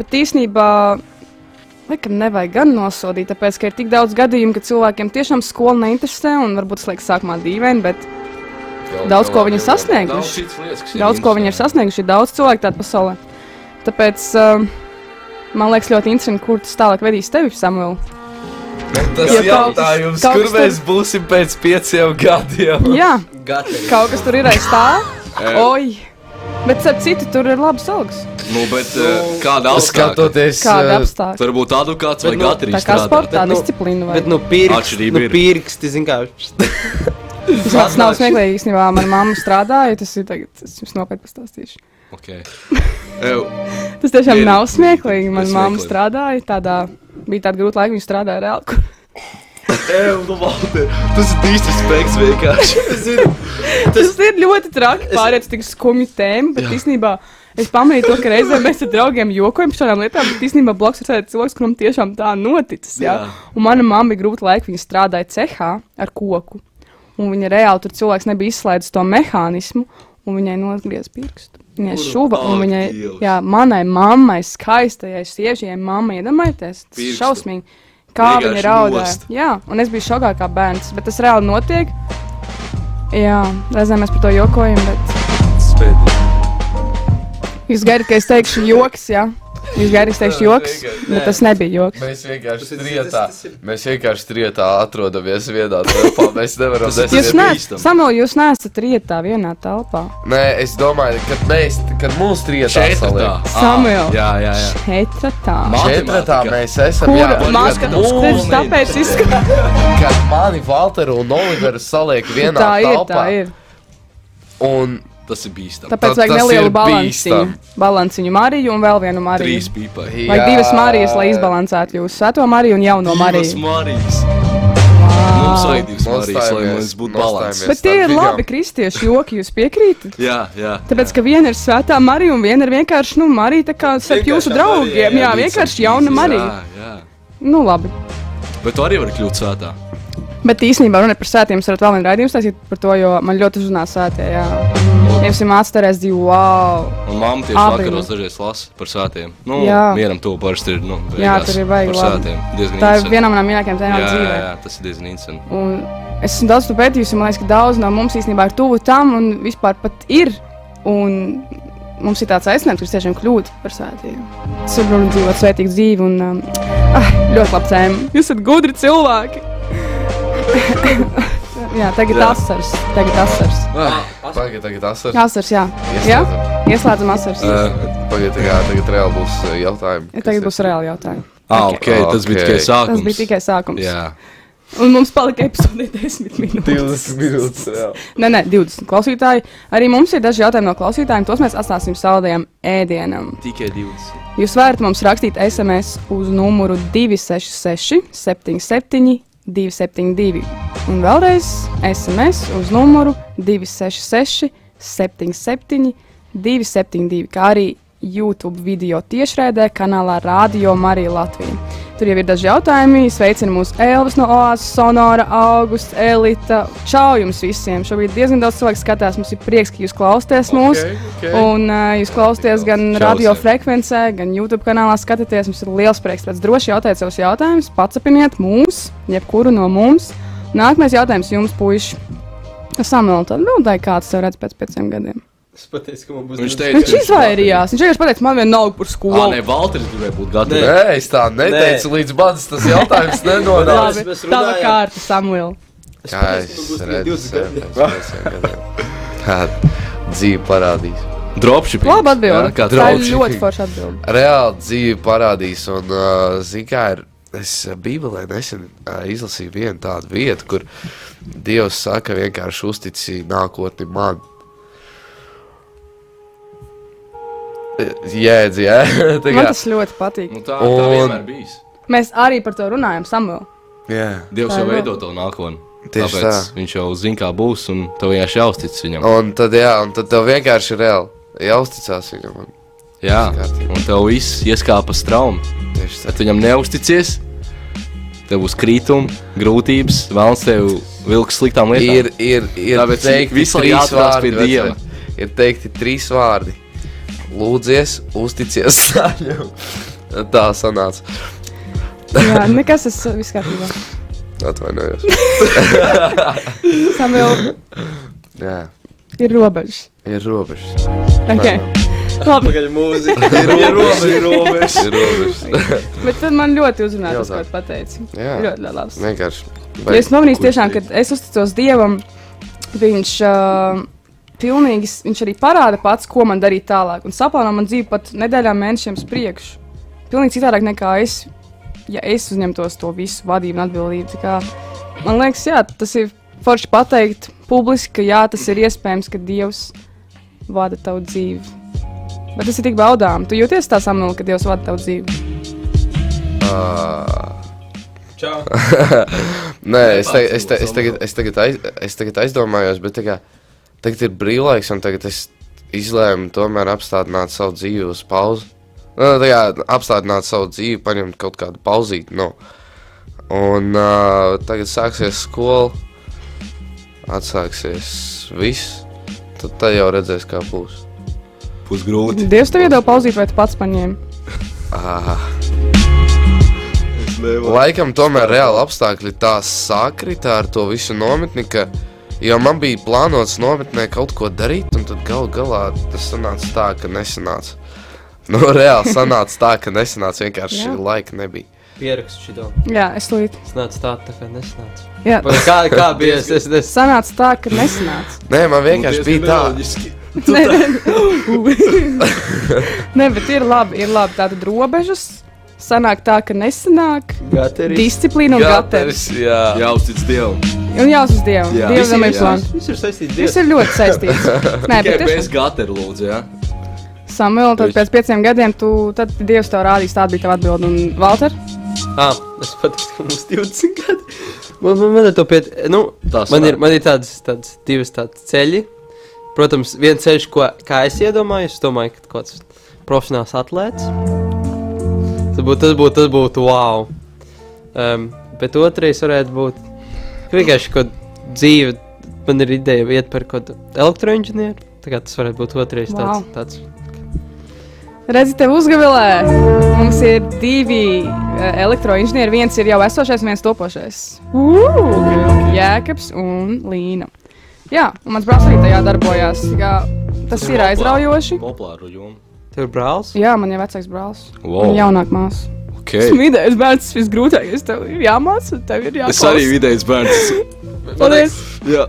[SPEAKER 2] Bet īsnībā Laikam nevajag gan nosodīt, tāpēc, ka ir tik daudz gadījumu, ka cilvēkiem tiešām skola neinteresē un varbūt slēgt sākumā dīvaini, bet Daudz ko viņi ir sasnieguši. daudz ko viņi ir sasnieguši, ir daudz cilvēku tādā pasaulē. Tāpēc um, man liekas ļoti interesanti, kur tas tālāk vedīs tevi, Samuel.
[SPEAKER 6] Tas
[SPEAKER 2] Ja
[SPEAKER 6] ir
[SPEAKER 2] kaut-
[SPEAKER 6] jautājums,
[SPEAKER 2] kaut
[SPEAKER 6] kur
[SPEAKER 2] kas
[SPEAKER 6] mēs būsim pēc pieciem gadiem.
[SPEAKER 2] Jā,
[SPEAKER 6] Gatavi.
[SPEAKER 2] kaut kas tur ir aiz tā. Oi! Bet ar citu tur ir labas algas.
[SPEAKER 6] Nu, bet eh, kāda apskata?
[SPEAKER 4] Skatoties,
[SPEAKER 2] Kāda
[SPEAKER 4] eh,
[SPEAKER 2] apstākļa?
[SPEAKER 6] Tur būtu advokāts
[SPEAKER 5] Bet
[SPEAKER 6] vai
[SPEAKER 5] nu,
[SPEAKER 6] gatavs
[SPEAKER 2] Tā kā sportā
[SPEAKER 5] Bet nu-
[SPEAKER 2] disciplīna vai
[SPEAKER 5] Bet, nu, pirksti,
[SPEAKER 6] Atšķirība
[SPEAKER 5] nu,
[SPEAKER 6] ir.
[SPEAKER 5] pirksti, zin kā.
[SPEAKER 2] Tas nav smieklīgi, īstenībā. Mana mamma strādāja, tas ir tagad, es jums nopietni pastāstīšu.
[SPEAKER 6] Okay. Ew,
[SPEAKER 2] Tas tiešām
[SPEAKER 6] Ir-
[SPEAKER 2] nav smieklīgi. Mana
[SPEAKER 6] ir
[SPEAKER 2] mamma
[SPEAKER 6] smieklīgi.
[SPEAKER 2] strādāja tādā, bija tāda grūta laika, viņa strādāja reāli. kur-
[SPEAKER 6] ew, nu, Valter, tas ir īstais spēks vienkārši.
[SPEAKER 2] Tas ir ļoti traki pāriet uz tik skumju tēmu, bet īstenībā es pamanīju to, ka reizēm mēs ar draugiem jokojam par šādām lietām, bet īstenībā bloks ir tāds cilvēks, kuram tiešām tā noticis. Jā.
[SPEAKER 6] Jā.
[SPEAKER 2] Un mana mamma bija grūta laika, viņa strādāja cehā ar koku. Un viņa reāli tur cilvēks nebija izslēdzis to mehānismu, un viņai nogriez pirkstu. Viņai šuva, un
[SPEAKER 6] ak,
[SPEAKER 2] viņai,
[SPEAKER 6] Dievs.
[SPEAKER 2] jā, manai mammai, skaistajai sievietei, mammai, iedomājieties, tas ir
[SPEAKER 6] Pirkstu.
[SPEAKER 2] šausmīgi. Kā viņa
[SPEAKER 6] Vienkārši
[SPEAKER 2] raudāja.
[SPEAKER 6] nost.
[SPEAKER 2] Jā, un es biju šokā kā bērns, bet tas reāli notiek. Jā, reizēm mēs par to jokojam, bet jūs gaidat, ka es teikšu joks, jā. Jūs gaidat, ka es teikšu joks, bet tas nebija joks.
[SPEAKER 4] Mēs vienkārši trietā, mēs vienkārši trietā atrodamies vienā telpā. Mēs nevaram
[SPEAKER 6] Tas ir
[SPEAKER 2] Jūs
[SPEAKER 4] desmit-
[SPEAKER 6] ne-
[SPEAKER 2] neesat,
[SPEAKER 6] bīstami.
[SPEAKER 2] Samuel, jūs neesat rietā vienā telpā.
[SPEAKER 4] Nē, es domāju, kad mēs, kad mūs trietā saliek.
[SPEAKER 2] Samuel.
[SPEAKER 6] Jā, jā, jā.
[SPEAKER 2] Hetratā.
[SPEAKER 6] Ma-
[SPEAKER 4] Četratā
[SPEAKER 6] Matemātika.
[SPEAKER 4] mēs esam,
[SPEAKER 2] Kur
[SPEAKER 4] jā, kad-
[SPEAKER 2] maskatās? Tas tāpēc izskatās.
[SPEAKER 4] kad mani Valteru un Oliveru saliek vienā
[SPEAKER 2] Tā ir, tā
[SPEAKER 4] telpā.
[SPEAKER 2] ir.
[SPEAKER 4] Un
[SPEAKER 6] Tas ir bīstami.
[SPEAKER 4] Tad
[SPEAKER 2] Tāpēc vajag
[SPEAKER 4] tas ir
[SPEAKER 2] nelielu balansiņu.
[SPEAKER 4] bīstam.
[SPEAKER 2] Balansiņu Mariju un vēl vienu Mariju.
[SPEAKER 6] Trīs pīpai.
[SPEAKER 2] Vai
[SPEAKER 4] jā,
[SPEAKER 2] divas Marijas, lai izbalansētu jūsu svēto Mariju un jauno
[SPEAKER 6] Divas
[SPEAKER 2] Mariju?
[SPEAKER 6] Marijas.
[SPEAKER 2] Vau.
[SPEAKER 6] Mums vajag divas Marijas, lai
[SPEAKER 4] Nostājamies,
[SPEAKER 6] mums būtu
[SPEAKER 4] nostājamies.
[SPEAKER 6] balanss.
[SPEAKER 2] Bet tie
[SPEAKER 4] starp
[SPEAKER 2] ir
[SPEAKER 4] divām.
[SPEAKER 2] labi kristieši joki, jūs piekrītat?
[SPEAKER 6] Jā, jā.
[SPEAKER 2] Tāpēc, ka viena ir svētā Marija un viena ir vienkārši, nu, Marija tā kā starp jūsu draugiem. Jā, vienkārši jauna Marija.
[SPEAKER 6] Jā,
[SPEAKER 2] Nu, labi.
[SPEAKER 6] jā. Bet tu arī vari kļūt svētā.
[SPEAKER 2] Bet īstenībā runāt par svētiem, es varu vēl vienu raidījumu stāstīt par to, jo man ļoti uzrunā svētie, jā. Jums ir mācītājs divi, wow.
[SPEAKER 6] Un mamma tieši
[SPEAKER 2] Abi.
[SPEAKER 6] vakaros dažreiz lasa par svētiem. Nu,
[SPEAKER 2] Jā.
[SPEAKER 6] mieram to parasti ir. Nu,
[SPEAKER 2] Jā,
[SPEAKER 6] beigās
[SPEAKER 2] tur ir vajag
[SPEAKER 6] Par
[SPEAKER 2] labi.
[SPEAKER 6] svētiem. Diezgan
[SPEAKER 2] Tā ir
[SPEAKER 6] interesanti.
[SPEAKER 2] viena no manām mīļākajām tēmām
[SPEAKER 6] jā, jā,
[SPEAKER 2] dzīvē.
[SPEAKER 6] jā, tas ir diezgan interesanti.
[SPEAKER 2] Un es esmu daudz to pētījis, un man liekas, ka daudz no mums īstenībā ir tuvu tam un vispār pat ir. Un mums ir tāds aicinājums, kurš tiešām kļūt par svētību. Subrunu dzīvot svētīgu dzīvi un um, ah, ļoti labi cēmu. Jūs esat gudri cilvēki! jā, tagad
[SPEAKER 6] Jā.
[SPEAKER 2] asars, tagad asars.
[SPEAKER 4] Pagaid, tagad asars.
[SPEAKER 2] Asars, jā. Jā? Ieslēdzam asars. Uh,
[SPEAKER 4] Pagaid, tagad, tagad reāli būs eh, jautājumi.
[SPEAKER 2] ja tagad būs reāli jautājumi.
[SPEAKER 6] Ah, ok, tas bija tikai
[SPEAKER 4] Ok.
[SPEAKER 6] sākums.
[SPEAKER 2] Tas bija tikai sākums.
[SPEAKER 6] Jā,
[SPEAKER 2] Un mums palika epizode 10 minūtes.
[SPEAKER 4] 20 minūtes. jā.
[SPEAKER 2] Nē, nē, 20 klausītāji. Arī mums ir daži jautājumi no klausītājiem. Tos mēs atstāsim saldējam ēdienam.
[SPEAKER 6] tikai divas.
[SPEAKER 2] Jūs varat mums rakstīt SMS uz numuru 266, 77, 272. Un vēlreiz SMS uz numuru 266, 77, 272. Kā arī YouTube video tiešraidē kanālā Radio Marija Latvija. Tur jau ir daži jautājumi. Sveicinu mūsu Elvis no Oāzes, Sonora, Augusta, Elita. Čau jums visiem! Šobrīd diezgan daudz cilvēku skatās. Mums ir prieks, ka jūs klausāties mūsu.
[SPEAKER 4] Ok, ok.
[SPEAKER 2] Un uh, jūs klausāties gan
[SPEAKER 6] Čau, Sēm.
[SPEAKER 2] radiofrekvencē, gan YouTube kanālā skatāties. Mums ir liels prieks. Pēc droši jautājiet savus jautājumus, pacepiniet mūs, jebkuru no mums. Nākamais jautājums jums, puiši. Samuel, tad atbildēji, kāds tev redz pēc pieciem gadiem?
[SPEAKER 5] Es pateicu, ka man būs.
[SPEAKER 6] Viņš
[SPEAKER 5] divas-
[SPEAKER 6] teica,
[SPEAKER 2] Viņš izvairījās. Viņš vienkārši pateica, man vienalga par
[SPEAKER 6] Ah,
[SPEAKER 2] skolu.
[SPEAKER 6] nē, Valters gribēja būt gatavs.
[SPEAKER 4] Nē, es tā neteicu, līdz manis tas jautājums nenonāca.
[SPEAKER 5] Labi, mēs
[SPEAKER 2] Tava
[SPEAKER 5] runājām.
[SPEAKER 2] kārta, Samuel.
[SPEAKER 5] Es
[SPEAKER 4] Jā,
[SPEAKER 5] pateicu, ka man
[SPEAKER 4] es
[SPEAKER 5] būs tikai
[SPEAKER 4] redzu,
[SPEAKER 5] 20
[SPEAKER 4] jā,
[SPEAKER 5] gadiem.
[SPEAKER 4] pēc pieciem gadiem. Tā dzīve parādīs.
[SPEAKER 6] Dropshipping.
[SPEAKER 2] Labi atbild. Tā
[SPEAKER 6] kā
[SPEAKER 2] ir
[SPEAKER 6] draugs.
[SPEAKER 2] ļoti forša atbilde.
[SPEAKER 4] Reāli dzīve parādīs, un uh, zini, kā ir. Es ā, Bībelē nesen ā, izlasīju vienu tādu vietu, kur Dievs saka, vienkārši uzticīja nākotni man. Jēdz, jā, tā
[SPEAKER 2] Man
[SPEAKER 4] kā.
[SPEAKER 2] tas ļoti patīk.
[SPEAKER 6] Nu, tā, tā
[SPEAKER 4] Un-
[SPEAKER 6] vienmēr bijis.
[SPEAKER 2] Mēs arī par to runājam, Samuel.
[SPEAKER 4] Jā,
[SPEAKER 6] Dievs
[SPEAKER 2] Tā
[SPEAKER 6] jau
[SPEAKER 2] ir
[SPEAKER 6] veido to nākotni.
[SPEAKER 4] Tieši
[SPEAKER 6] Tāpēc
[SPEAKER 4] tā.
[SPEAKER 6] viņš jau zina, kā būs, un tev vienkārši jāuztic viņam.
[SPEAKER 4] un tad, jā, un tad tev vienkārši ir reāli jāuzticās viņam. un
[SPEAKER 6] Jā,
[SPEAKER 4] Skatīt.
[SPEAKER 6] un tev viss ieskāpa straumi.
[SPEAKER 4] Tieši
[SPEAKER 6] Ja
[SPEAKER 4] tā.
[SPEAKER 6] tu viņam neusticies, tev būs krītumi, grūtības, vēlams tev vilks sliktām lietām.
[SPEAKER 4] Ir, ir, ir
[SPEAKER 6] Tāpēc
[SPEAKER 4] teikti
[SPEAKER 6] visu laiku
[SPEAKER 4] trīs
[SPEAKER 6] jāatcerās
[SPEAKER 4] vārdi,
[SPEAKER 6] pie
[SPEAKER 4] vecais.
[SPEAKER 6] Dieva.
[SPEAKER 4] Ir teikti trīs vārdi. Lūdzies, uzticies saņem. Tā sanāca.
[SPEAKER 2] Jā, nekas, tas viss kārtībā.
[SPEAKER 4] Atvainojos.
[SPEAKER 2] Tam vēl
[SPEAKER 4] Jā,
[SPEAKER 2] ir robežas.
[SPEAKER 4] ir robežas.
[SPEAKER 2] Okay. Labi,
[SPEAKER 5] Pagaļ mūzika.
[SPEAKER 4] Ir robežas, ir robežas. ir robežas.
[SPEAKER 2] bet tad man ļoti uzrunāja tas, ko
[SPEAKER 4] Jautā.
[SPEAKER 2] tu pateici.
[SPEAKER 4] Jā.
[SPEAKER 2] Ļoti, ļoti labs.
[SPEAKER 4] Vienkārši.
[SPEAKER 2] Jo Es pamanīju, tiešām, ka es uzticos Dievam. Viņš, uh, pilnīgi, s- viņš arī parāda pats, ko man darīt tālāk. Un saplāno man dzīvi pat nedēļām, mēnešiem uz priekšu. Pilnīgi citādāk nekā es, ja es uzņemtos to visu vadību un atbildību. Tā Kā, man liekas, jā, tas ir forši pateikt publiski, ka jā, tas ir iespējams, ka Dievs vada tavu dzīvi. Bet tas ir tik baudām. Tu jūties tā samulā, ka Dievs vada tavu dzīvi.
[SPEAKER 5] Čau.
[SPEAKER 4] Nē, es, te, es, te, es, tagad, es, tagad aiz, es tagad aizdomājos, bet tagad, tagad ir brīvlaiks, un tagad es izlēmu tomēr apstādināt savu dzīvi uz pauzi. Nu, tā kā apstādināt savu dzīvi, paņemt kaut kādu pauzīti. Nu. Un uh, tagad sāksies skola, atsāksies viss. Tad tā jau redzēs, kā būs.
[SPEAKER 7] Pusgrūti.
[SPEAKER 2] Dievs tev iedod pauzīt, vai tu pats paņēmi?
[SPEAKER 4] Ah, laikam tomēr reāli apstākļi tā sakritā ar to visu nometni, ka jau man bija plānots nometnē kaut ko darīt, un tad gal galā tas sanāca tā, ka nesanāca. Nu, reāli sanāca tā, ka nesanāca vienkārši
[SPEAKER 2] Jā.
[SPEAKER 4] laika nebija.
[SPEAKER 5] Pierakstu šito.
[SPEAKER 2] Jā, es slīdu.
[SPEAKER 5] Tas nāca tā, tā kā nesnāca.
[SPEAKER 2] Jā,
[SPEAKER 5] Pagaļ, Kā, kā bija? Es, es, es.
[SPEAKER 2] Sanāca tā, ka nesanāca.
[SPEAKER 4] Nē, man vienkārši
[SPEAKER 7] Nu,
[SPEAKER 4] bija tā,
[SPEAKER 2] Nē, Nē, bet ir labi, ir labi. Tātad robežas. Sanāk tā, ka nesanāk.
[SPEAKER 5] Gateris.
[SPEAKER 2] Disciplīna un gatavs.
[SPEAKER 4] jā.
[SPEAKER 7] Jā, uztic Dievu.
[SPEAKER 2] Un jāuzsver Dievam.
[SPEAKER 7] Jā.
[SPEAKER 2] Dievam vienmēr ir
[SPEAKER 7] Visiem
[SPEAKER 2] plāns.
[SPEAKER 5] Viss ir saistīts
[SPEAKER 2] Tas
[SPEAKER 5] Dievs.
[SPEAKER 2] ir ļoti saistīts. Nē,
[SPEAKER 7] Tikai
[SPEAKER 2] bet
[SPEAKER 7] bez
[SPEAKER 2] tas
[SPEAKER 7] gatera lūdzu, jā.
[SPEAKER 2] Samuēl, tad pēc pieciem gadiem tu, tad Dievs tev rādīs, tāda bija tava atbilde. Un Valter,
[SPEAKER 5] Ā, Ah, es pateicu, ka mums 20 gadi. Man, man, man ir to piet... Nu,
[SPEAKER 6] Tas
[SPEAKER 5] Man ir, man ir tādas, tādas divas tādas ceļi. Protams, viens ceļš, ko kā es iedomājos, es domāju, ka kaut kāds profesionāls atlētājs. Tas būtu, tas būtu, tas būtu wow. Um, bet otrais varētu būt ka vienkārši kaut kāda dzīve. Man ir ideja iet par kaut kādu elektroinženieru. Tā kā tas varētu būt otrais
[SPEAKER 2] Wow.
[SPEAKER 5] wow. tāds. tāds.
[SPEAKER 2] redzi, tev uzgavilē. Mums ir divi eh, elektroinženieri. Viens ir jau esošais, un viens topošais. Jēkabs un Līna. Jā, un mans brālis arī tajā darbojās. Jā, tas ir aizraujoši.
[SPEAKER 6] Populāru jomu.
[SPEAKER 5] Tev ir brālis?
[SPEAKER 2] Jā, man jau vecāks brālis.
[SPEAKER 6] Wow.
[SPEAKER 7] Oh.
[SPEAKER 2] Wow. Jaunāk māsa.
[SPEAKER 7] Okay.
[SPEAKER 2] Esmu vidējais bērns, tas viss grūtākais. Tev ir jāmācās, tev ir
[SPEAKER 7] Es arī
[SPEAKER 2] jāmācās.
[SPEAKER 7] vidējais bērns.
[SPEAKER 2] Paldies!
[SPEAKER 7] Jā,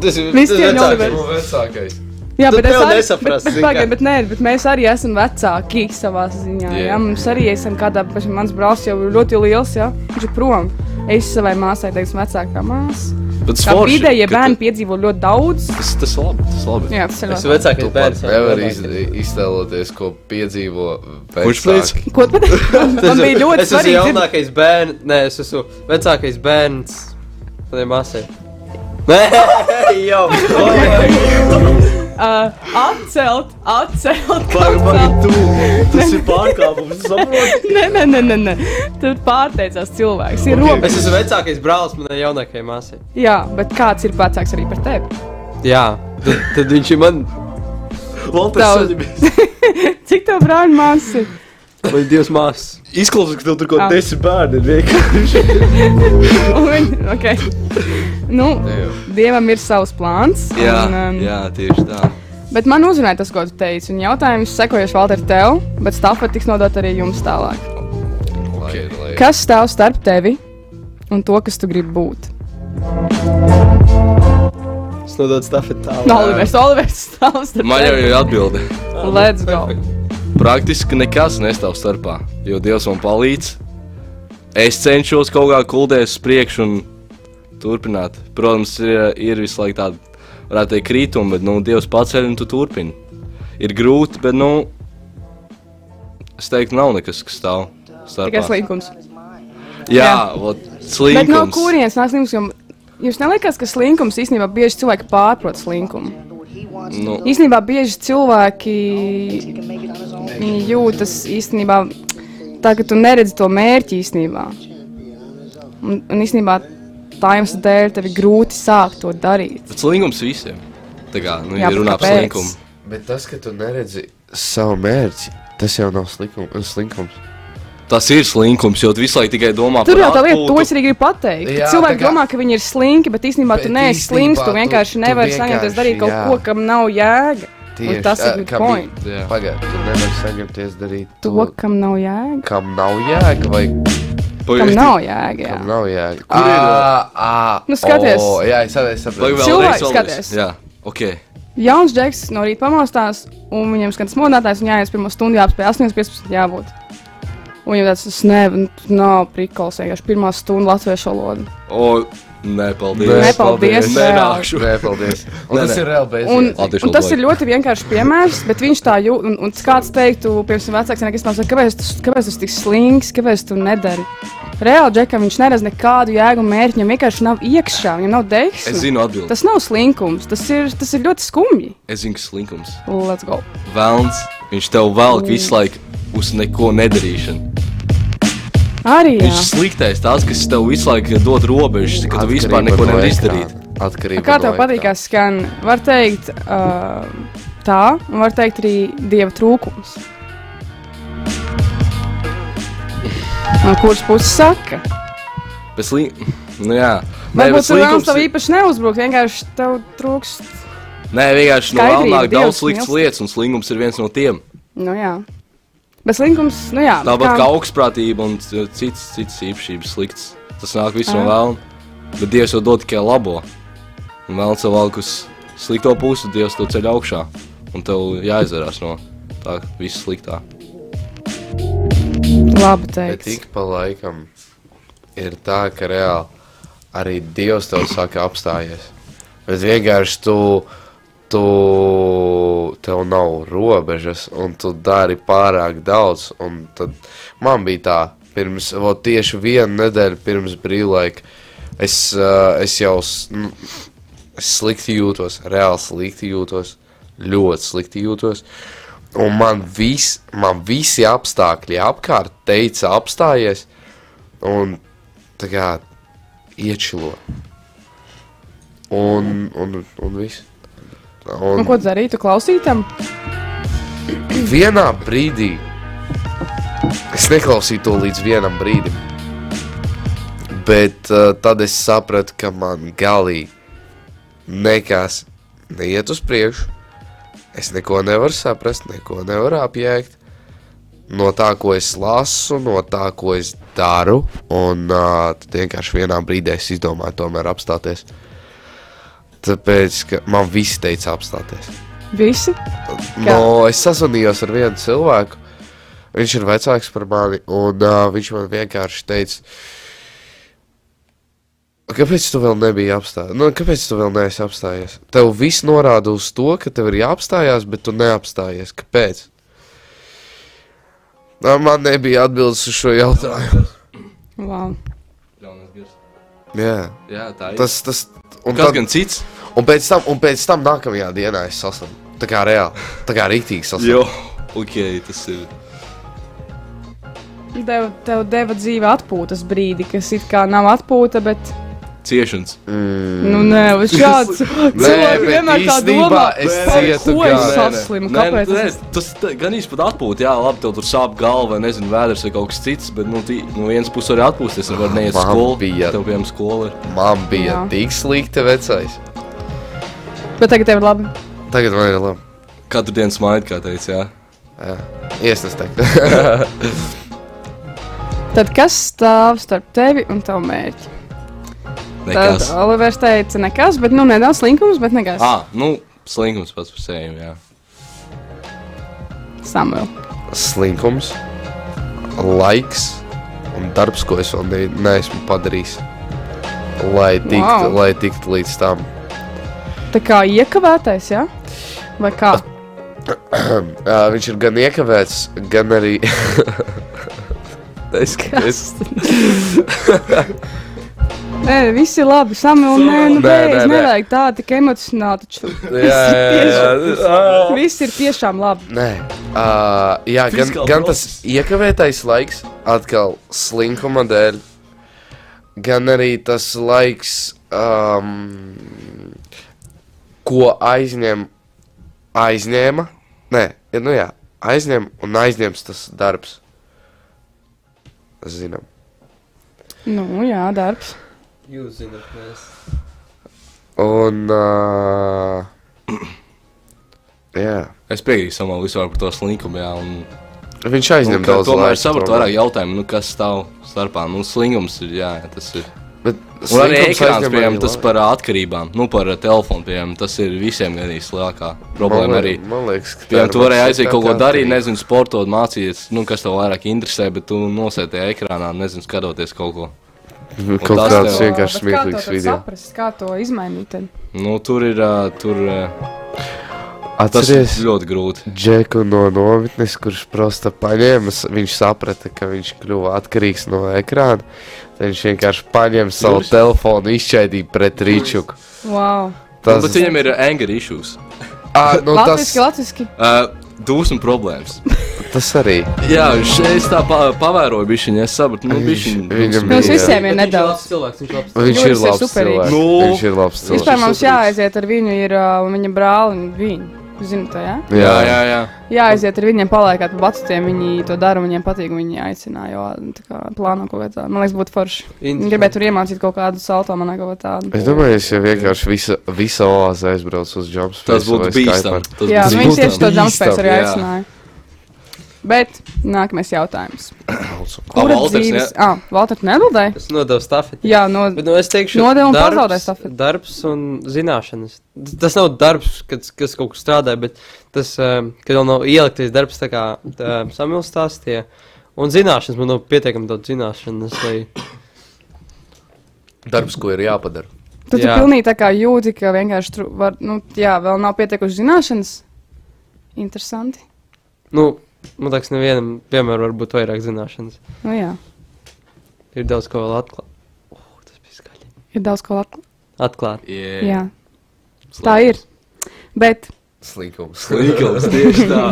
[SPEAKER 5] Tas ir
[SPEAKER 2] Visi tie
[SPEAKER 5] vecāks.
[SPEAKER 7] Nu,
[SPEAKER 2] nodevēji.
[SPEAKER 4] Vecākais.
[SPEAKER 2] Jā,
[SPEAKER 5] Tu
[SPEAKER 2] bet es
[SPEAKER 5] tev
[SPEAKER 2] arī
[SPEAKER 5] nesaprasti,
[SPEAKER 2] Bet,
[SPEAKER 5] zini
[SPEAKER 2] bet, pagaid,
[SPEAKER 5] kā.
[SPEAKER 2] bet, nē, bet mēs arī esam vecāki savā ziņā. Yeah. Jā,
[SPEAKER 4] Jā.
[SPEAKER 2] mums arī esam kādā, pašam mans brālis jau ir ļoti liels, jā, viņš ir prom. Es savai māsai, teiksim, vecākā māsa.
[SPEAKER 6] Bet
[SPEAKER 2] Kā
[SPEAKER 6] forši,
[SPEAKER 2] vidējie
[SPEAKER 6] ka
[SPEAKER 2] bērni
[SPEAKER 6] tu-
[SPEAKER 2] piedzīvo ļoti daudz.
[SPEAKER 6] Tas, tas labi, tas labi.
[SPEAKER 2] Jā, tas ir labi.
[SPEAKER 5] Tas ir vecākais
[SPEAKER 4] Tu pat
[SPEAKER 5] bērns.
[SPEAKER 4] nevar iz, iztēloties, ko piedzīvo
[SPEAKER 7] Kurš
[SPEAKER 4] vecāki.
[SPEAKER 2] Ko tu man bija ļoti
[SPEAKER 5] es esmu
[SPEAKER 2] svarīgi? dzird-
[SPEAKER 5] jaunākais bērns, nē, es esmu vecākais bērns. Tad ir māsai. Nē, jau
[SPEAKER 2] Ā, Atcelt, atcelt, atcelt.
[SPEAKER 5] tas ir pārkāpums. saproti?
[SPEAKER 2] Nē, nē, nē, nē, nē. Tur pārteicās cilvēks. Ir robežas.
[SPEAKER 5] Es esmu vecākais brālis manai jaunākajai māsai.
[SPEAKER 2] Jā, bet kāds ir vecāks arī par tevi?
[SPEAKER 5] Jā, tad, tad viņš ir man.
[SPEAKER 2] Daudz. Cik tev brāļu māsas ir?
[SPEAKER 5] Man ir divas māsas.
[SPEAKER 6] Izklausās, ka tev tur
[SPEAKER 2] Ā.
[SPEAKER 6] kaut desmit bērni ir vienkārši.
[SPEAKER 2] Ah. Un viņi- Okay. Nu, Dievam ir savs plāns.
[SPEAKER 7] jā,
[SPEAKER 2] un, um,
[SPEAKER 7] jā tieši tā.
[SPEAKER 2] Bet man uzrunāja tas, ko tu teici. Un jautājums sekojošs Valter tev, bet stāfa tiks nodot arī jums tālāk.
[SPEAKER 4] Okay. Lai, lai.
[SPEAKER 2] Kas stāv starp tevi un to, kas tu gribi būt?
[SPEAKER 5] Es nododu stafeti tālu.
[SPEAKER 2] No, Olivers, Olivers stāv starp
[SPEAKER 6] Man jau
[SPEAKER 2] tevi.
[SPEAKER 6] ir atbilde.
[SPEAKER 2] Let's go.
[SPEAKER 6] Praktiski nekas nestāv starpā, jo Dievs man palīdz. Es cenšos kaut kā kuldēties uz priekšu un turpināt. Protams, ir, ir visu laiku tāda, varētu teikt, krītuma, bet nu, Dievs paceļ un tu turpini. Ir grūti, bet nu, es teiktu, nav nekas, kas stāv.
[SPEAKER 2] Tikai
[SPEAKER 6] Starpā.
[SPEAKER 2] slinkums.
[SPEAKER 6] Jā, vot,
[SPEAKER 2] Bet no
[SPEAKER 6] slinkums.
[SPEAKER 2] kurienes nāk slinkums? Jo Jums neliekas, ka slinkums īstenībā bieži cilvēki pārprot slinkumu.
[SPEAKER 6] Nu,
[SPEAKER 2] Īstenībā bieži cilvēki viņi jūtas īstenībā tā, ka tu neredzi to mērķi īstenībā. Un, un īstenībā tā jums dēļ tev ir grūti sākt to darīt.
[SPEAKER 6] bet slinkums visiem. Tā kā, nu,
[SPEAKER 2] Jā,
[SPEAKER 6] ja
[SPEAKER 2] bet
[SPEAKER 6] runā par
[SPEAKER 2] kāpēc?
[SPEAKER 6] slinkumu.
[SPEAKER 4] Bet tas, ka tu neredzi savu mērķi, tas jau nav slikums, slinkums.
[SPEAKER 6] Tas ir slinkums, jo tu visu laiku tikai domā
[SPEAKER 2] Tur jau
[SPEAKER 6] par
[SPEAKER 2] tā lieta,
[SPEAKER 6] atpūtu.
[SPEAKER 2] to es arī gribu pateikt.
[SPEAKER 4] Jā,
[SPEAKER 2] Jā, cilvēki
[SPEAKER 4] tā kā-
[SPEAKER 2] kā... domā, ka viņi ir slinki, bet īstenībā
[SPEAKER 4] Bet
[SPEAKER 2] tu neesi
[SPEAKER 4] īstenībā
[SPEAKER 2] slinks. Tu
[SPEAKER 4] tu-
[SPEAKER 2] vienkārši
[SPEAKER 4] tu
[SPEAKER 2] nevari saņemties darīt
[SPEAKER 4] vienkārši,
[SPEAKER 2] kaut
[SPEAKER 4] jā.
[SPEAKER 2] ko, kam nav jēga.
[SPEAKER 4] Tieši,
[SPEAKER 2] Un tas
[SPEAKER 4] ā,
[SPEAKER 2] ir good
[SPEAKER 4] kam
[SPEAKER 2] point.
[SPEAKER 6] Jā.
[SPEAKER 4] Pagaid, tu nevari saņemties darīt
[SPEAKER 2] To,
[SPEAKER 4] to,
[SPEAKER 2] kam nav jēga,
[SPEAKER 4] kam nav jēga vai
[SPEAKER 2] kam
[SPEAKER 6] Pagaidi,
[SPEAKER 2] nav jēga. Jā.
[SPEAKER 4] kam nav jēga.
[SPEAKER 6] Kur ir,
[SPEAKER 4] Ā, ā,
[SPEAKER 2] Nu, skaties.
[SPEAKER 4] o, Jā, es arī
[SPEAKER 6] Vajag
[SPEAKER 4] saprotu.
[SPEAKER 6] vēlreiz,
[SPEAKER 2] Cilvēks
[SPEAKER 6] vēlreiz.
[SPEAKER 2] skaties.
[SPEAKER 6] Jā, ok.
[SPEAKER 2] Jauns džeks no rīta pamostās, un viņam skan modinātājs, un jāiet pirmā stundā apspēj 8.15. jābūt. Un viņam tāds, es nevaru, nav prikols, vienkārši pirmā stunda latviešu valoda.
[SPEAKER 6] O, nē, paldies.
[SPEAKER 4] Nē,
[SPEAKER 2] paldies,
[SPEAKER 6] Nenākšu.
[SPEAKER 4] Nē, paldies. Un
[SPEAKER 6] Nē,
[SPEAKER 4] tas
[SPEAKER 6] nē.
[SPEAKER 4] ir reāli beidzies.
[SPEAKER 2] Un,
[SPEAKER 6] Latviešu
[SPEAKER 2] un tas
[SPEAKER 6] valoda.
[SPEAKER 2] ir ļoti vienkārši piemērs, bet viņš tā jūt, un, un kāds teiktu, piemēram, vecāks, nekas man saka, kāpēc tas, kāpēc tas tik slinks, kāpēc tu nedari. Reāli džekam viņš neredz nekādu jēgu un mērķi, viņam vienkārši nav iekšā, viņam nav
[SPEAKER 6] Es
[SPEAKER 2] deiksmes.
[SPEAKER 6] zinu atbildi.
[SPEAKER 2] Tas nav slinkums, tas ir, tas ir ļoti skumji.
[SPEAKER 6] Es zinu, kas slinkums.
[SPEAKER 2] Let's go!
[SPEAKER 6] Velns, viņš tev velk
[SPEAKER 2] Mm.
[SPEAKER 6] visu laiku uz neko nedarīšanu.
[SPEAKER 2] Arī jā.
[SPEAKER 6] Viņš sliktais tās, kas tev visu laiku dod robežas, ka tu vispār
[SPEAKER 4] Atkarība
[SPEAKER 6] neko
[SPEAKER 4] no
[SPEAKER 6] nevari
[SPEAKER 4] ekrāna.
[SPEAKER 6] izdarīt.
[SPEAKER 4] Atkarība
[SPEAKER 2] Kā
[SPEAKER 4] no
[SPEAKER 2] tev
[SPEAKER 4] ekrāna.
[SPEAKER 2] patīk, kā skan? Var teikt, uh, tā, un var teikt arī dieva trūkums. No kuras puses saka?
[SPEAKER 6] Bet slinkums, nu jā. Nē, bet
[SPEAKER 2] Varbūt tur nāc,
[SPEAKER 6] slinkums
[SPEAKER 2] tev
[SPEAKER 6] ir-
[SPEAKER 2] īpaši neuzbruk, vienkārši tev trūkst.
[SPEAKER 6] Nē, vienkārši no
[SPEAKER 2] Skaidrība,
[SPEAKER 6] vēlnāk
[SPEAKER 2] Dievs,
[SPEAKER 6] daudz sliktas
[SPEAKER 2] mīlestība.
[SPEAKER 6] lietas, un slinkums ir viens no tiem.
[SPEAKER 2] Nu jā. Bet slinkums, nu jā.
[SPEAKER 6] Tāpat kā augstprātība un c- citas, citas īpašības sliktas. Tas nāk viss no
[SPEAKER 2] Ā.
[SPEAKER 6] vēlna. Bet Dievs jau dod tikai labo. Un vēlns jau valk uz slikto pusi, Dievs to ceļ augšā. Un tev jāizvērās no tā viss sliktā.
[SPEAKER 2] Labi
[SPEAKER 4] Bet
[SPEAKER 2] teikts.
[SPEAKER 4] ik pa laikam ir tā, ka reāli arī Dievs tev saka, apstājies. Bet vienkārši tu, tu tev nav robežas, un tu dari pārāk daudz. Un tad man bija tā, pirms vo, tieši vienu nedēļu pirms brīvlaika es, uh, es jau s- nu, es slikti jūtos, reāli slikti jūtos, ļoti slikti jūtos. Un man, vis, man visi apstākļi apkārt teica, apstājies un tā kā iečilo. Un, un, un viss.
[SPEAKER 2] Un
[SPEAKER 4] Un
[SPEAKER 2] ko tu darītu klausītam?
[SPEAKER 4] vienā brīdī es neklausīju to līdz vienam brīdim. Bet uh, tad es sapratu, ka man galīgi nekas neiet uz priekšu. Es neko nevaru saprast, neko nevaru apjēgt. No tā, ko es lasu, no tā, ko es daru. Un uh, tad vienkārši vienā brīdī es izdomāju, tomēr apstāties. Tāpēc, ka man visi teica apstāties.
[SPEAKER 2] Visi?
[SPEAKER 4] No, es sazvanījos ar vienu cilvēku. Viņš ir vecāks par mani, un uh, viņš man vienkārši teica, kāpēc tu vēl nebiji apstājies? Nu, kāpēc tu vēl neesi apstājies? Tev viss norāda uz to, ka tev ir jāapstājās, bet tu neapstājies. Kāpēc? Nā, man nebija atbildes uz šo jautājumu.
[SPEAKER 2] Wow.
[SPEAKER 4] Jā,
[SPEAKER 6] Jā, tā ir. Tas
[SPEAKER 4] tas tas. Un,
[SPEAKER 6] Kas
[SPEAKER 4] tad,
[SPEAKER 6] gan cits?
[SPEAKER 4] un, pēc tam, un pēc tam nākamajā dienā es saslimu. Tā kā reāli, tā kā rīktīgi saslimu.
[SPEAKER 6] Jo, ok, tas ir.
[SPEAKER 2] Deva, tev deva dzīve atpūtas brīdi, kas it kā nav atpūta, bet
[SPEAKER 6] Ciešanas.
[SPEAKER 2] Nu, nē, uz šāds cilvēks
[SPEAKER 4] bet
[SPEAKER 2] vienmēr tā
[SPEAKER 4] īstenībā
[SPEAKER 2] domā.
[SPEAKER 4] es
[SPEAKER 2] par
[SPEAKER 4] cietu
[SPEAKER 2] ko
[SPEAKER 4] gan.
[SPEAKER 2] es
[SPEAKER 4] Nē, nē.
[SPEAKER 2] saslimu? Kāpēc?
[SPEAKER 6] Nē,
[SPEAKER 2] es-
[SPEAKER 6] nē, tas tā- gan īsti pat atpūta. Jā, labi, tev tur sāp galva, vai nezinu, vēders vai kaut kas cits. Bet no nu, nu, vienas puses arī atpūsties. Var neiet uz
[SPEAKER 4] Man
[SPEAKER 6] skolu.
[SPEAKER 4] bija-
[SPEAKER 6] Tev piemēram skola ir.
[SPEAKER 4] Man bija
[SPEAKER 2] Jā.
[SPEAKER 4] tik slikti vecais.
[SPEAKER 2] Bet tagad tev ir labi.
[SPEAKER 4] Tagad man ir labi.
[SPEAKER 6] Katru dienu smaidīt, kā teica. Jā.
[SPEAKER 4] Iesnes teikt.
[SPEAKER 2] Tad kas stāv starp tevi un tavu mērķi? Tad
[SPEAKER 6] Nekas.
[SPEAKER 2] Olivers teica, nekas, bet nu nedaudz slinkums, bet nekas.
[SPEAKER 6] Ah, nu, slinkums pats par sevi. Jā.
[SPEAKER 2] Samuel.
[SPEAKER 4] Slinkums, laiks un darbs, ko es vēl ne, neesmu padarījis. Lai tiktu wow.
[SPEAKER 2] Wow.
[SPEAKER 4] lai tikt līdz tam.
[SPEAKER 2] Tā kā iekavētais, jā? Vai kā?
[SPEAKER 4] Uh, viņš ir gan iekavēts, gan arī. es
[SPEAKER 2] Kas? Nē, viss ir labi. Samuel, nē, nu
[SPEAKER 4] Nē, nē,
[SPEAKER 2] beidz,
[SPEAKER 4] nē.
[SPEAKER 2] nevajag tā, tik emocionāli taču.
[SPEAKER 4] jā, jā, Ah! jā.
[SPEAKER 2] Viss ir tiešām labi.
[SPEAKER 4] Nē, uh, jā, gan,
[SPEAKER 6] Fiskāli
[SPEAKER 4] gan tas
[SPEAKER 6] process.
[SPEAKER 4] iekavētais laiks, atkal slinkuma dēļ, gan arī tas laiks, um, ko aizņem, aizņēma. Nē, nu jā, aizņem un aizņems tas darbs. zinām.
[SPEAKER 2] Nu, jā, darbs.
[SPEAKER 5] Jūs zināt, mēs.
[SPEAKER 4] Un. Uh, jā.
[SPEAKER 6] Es piekrītu samam vispār par to slinkumu, jā. Un,
[SPEAKER 4] Viņš
[SPEAKER 6] un,
[SPEAKER 4] aizņem
[SPEAKER 6] ka
[SPEAKER 4] daudz
[SPEAKER 6] tomēr
[SPEAKER 4] laika.
[SPEAKER 6] es saprotu vairāk jautājumu, nu, kas stāv starpā. Nu, slinkums ir, jā, tas ir.
[SPEAKER 4] Bet
[SPEAKER 6] Un arī
[SPEAKER 4] slinkums
[SPEAKER 6] ekrāns,
[SPEAKER 4] aizņem
[SPEAKER 6] piemēram,
[SPEAKER 4] arī
[SPEAKER 6] tas
[SPEAKER 4] laiku.
[SPEAKER 6] par ā, atkarībām, nu, par ā, telefonu, piemēram, tas ir visiem gandrīz lielākā
[SPEAKER 4] Man
[SPEAKER 6] problēma
[SPEAKER 4] liek-
[SPEAKER 6] arī.
[SPEAKER 4] Man liekas, ka. tā
[SPEAKER 6] Piemēram,
[SPEAKER 4] ir
[SPEAKER 6] tu varēji
[SPEAKER 4] mums
[SPEAKER 6] aiziet
[SPEAKER 4] tā
[SPEAKER 6] kaut ko
[SPEAKER 4] tā
[SPEAKER 6] darīt,
[SPEAKER 4] atkarība.
[SPEAKER 6] nezinu, sportot, mācīties, nu, kas tev vairāk interesē, bet tu nosēdi tajā ekrānā, nezinu, skatoties kaut ko.
[SPEAKER 4] Mhm, Kaut
[SPEAKER 6] tas
[SPEAKER 4] kāds
[SPEAKER 6] tev-
[SPEAKER 2] Bet
[SPEAKER 4] vienkārši
[SPEAKER 2] kā to
[SPEAKER 4] smieklīgs
[SPEAKER 2] tad
[SPEAKER 4] video.
[SPEAKER 2] saprast, kā to izmainīt? Tad?
[SPEAKER 6] Nu, tur ir, ā, tur, ā, tas ir
[SPEAKER 4] Atceries,
[SPEAKER 6] ļoti grūti.
[SPEAKER 4] Džeku no nometnes, kurš prosta paņēma, s- viņš saprata, ka viņš kļuva atkarīgs no ekrāna. Tad viņš vienkārši paņēma savu telefonu, izšķēdīja pret rīčuku.
[SPEAKER 2] Wow.
[SPEAKER 4] Tas,
[SPEAKER 6] Tas... Nu, Bet viņam ir anger issues,
[SPEAKER 4] à, nu, tas,
[SPEAKER 2] Latvijas, Latvijas.
[SPEAKER 6] uh, dūsmu problēmas.
[SPEAKER 4] tas arī.
[SPEAKER 6] Jā, viņš es tā pa, pavēroju bišķiņu, es sapratu, nu,
[SPEAKER 4] Viņš-
[SPEAKER 6] bišķiņu.
[SPEAKER 4] viņam
[SPEAKER 2] Mēs
[SPEAKER 4] Jā.
[SPEAKER 2] visiem ir
[SPEAKER 5] Bet viņš ir
[SPEAKER 2] nedaudz.
[SPEAKER 5] labs cilvēks, viņš ir labs.
[SPEAKER 4] Viņš
[SPEAKER 2] Juris
[SPEAKER 4] ir
[SPEAKER 2] ir
[SPEAKER 4] labs
[SPEAKER 2] superīgs.
[SPEAKER 4] cilvēks.
[SPEAKER 6] Nu.
[SPEAKER 4] Viņš ir labs
[SPEAKER 2] Vispār mums
[SPEAKER 4] cilvēks.
[SPEAKER 5] Viņš ir superīgs.
[SPEAKER 2] jāaiziet ar viņu, ir uh, un viņa brāli un viņa. Zinu to, jā?
[SPEAKER 6] Jā, jā, jā.
[SPEAKER 2] Jāaiziet ar viņiem, paliekāt pa vecākiem, viņi to dara, un viņiem patīk, un viņi aicina, jo nu, tā kā plāno kaut kā tādu. Man liekas, būtu forši. Viņi gribētu tur iemācīt kaut kādu salto manā kaut kā tādu.
[SPEAKER 4] Es domāju, es jau vienkārši visa, visa oāze aizbraucu uz Jumps.
[SPEAKER 6] Tas būtu bīstami. Tas
[SPEAKER 2] Jā,
[SPEAKER 6] būtu
[SPEAKER 2] viņi
[SPEAKER 6] bīstami.
[SPEAKER 2] tieši to jumpspēju arī
[SPEAKER 6] jā.
[SPEAKER 2] aicināja. Bet nākamais jautājums.
[SPEAKER 6] Ah,
[SPEAKER 2] Kura
[SPEAKER 6] Valters,
[SPEAKER 2] dzīves...
[SPEAKER 6] jā.
[SPEAKER 2] Ah, Valter, tu neatbildēji?
[SPEAKER 5] Es nodevu stafeti.
[SPEAKER 2] Jā, no...
[SPEAKER 5] Bet, nu, es teikšu,
[SPEAKER 2] Nodevu un
[SPEAKER 5] darbs-
[SPEAKER 2] pazaudēju stafeti.
[SPEAKER 5] Darbs un zināšanas. T- Tas nav darbs, kad, kas kaut kur strādā, bet tas, um, kad vēl nav ieliktais darbs, tā kā tā, samilstās tie. Un zināšanas, man nav pietiekami daudz zināšanas, lai
[SPEAKER 6] Darbs, ko ir jāpadara.
[SPEAKER 2] Tu, tu
[SPEAKER 5] Jā.
[SPEAKER 2] pilnīgi tā kā jūti, ka vienkārši tur var, nu, jā, vēl nav pietiekuši zināšanas. Interesanti.
[SPEAKER 5] Nu, man liekas, nevienam, piemēram, var būt vairāk zināšanas.
[SPEAKER 2] Nu, jā,
[SPEAKER 5] Ir daudz ko vēl atklāt. Uh, tas bija skaļi.
[SPEAKER 2] ir daudz ko atklāt.
[SPEAKER 5] Atklāt.
[SPEAKER 2] Jā, tā ir. Bet
[SPEAKER 4] Slinkums.
[SPEAKER 6] Slinkums, tieši tā.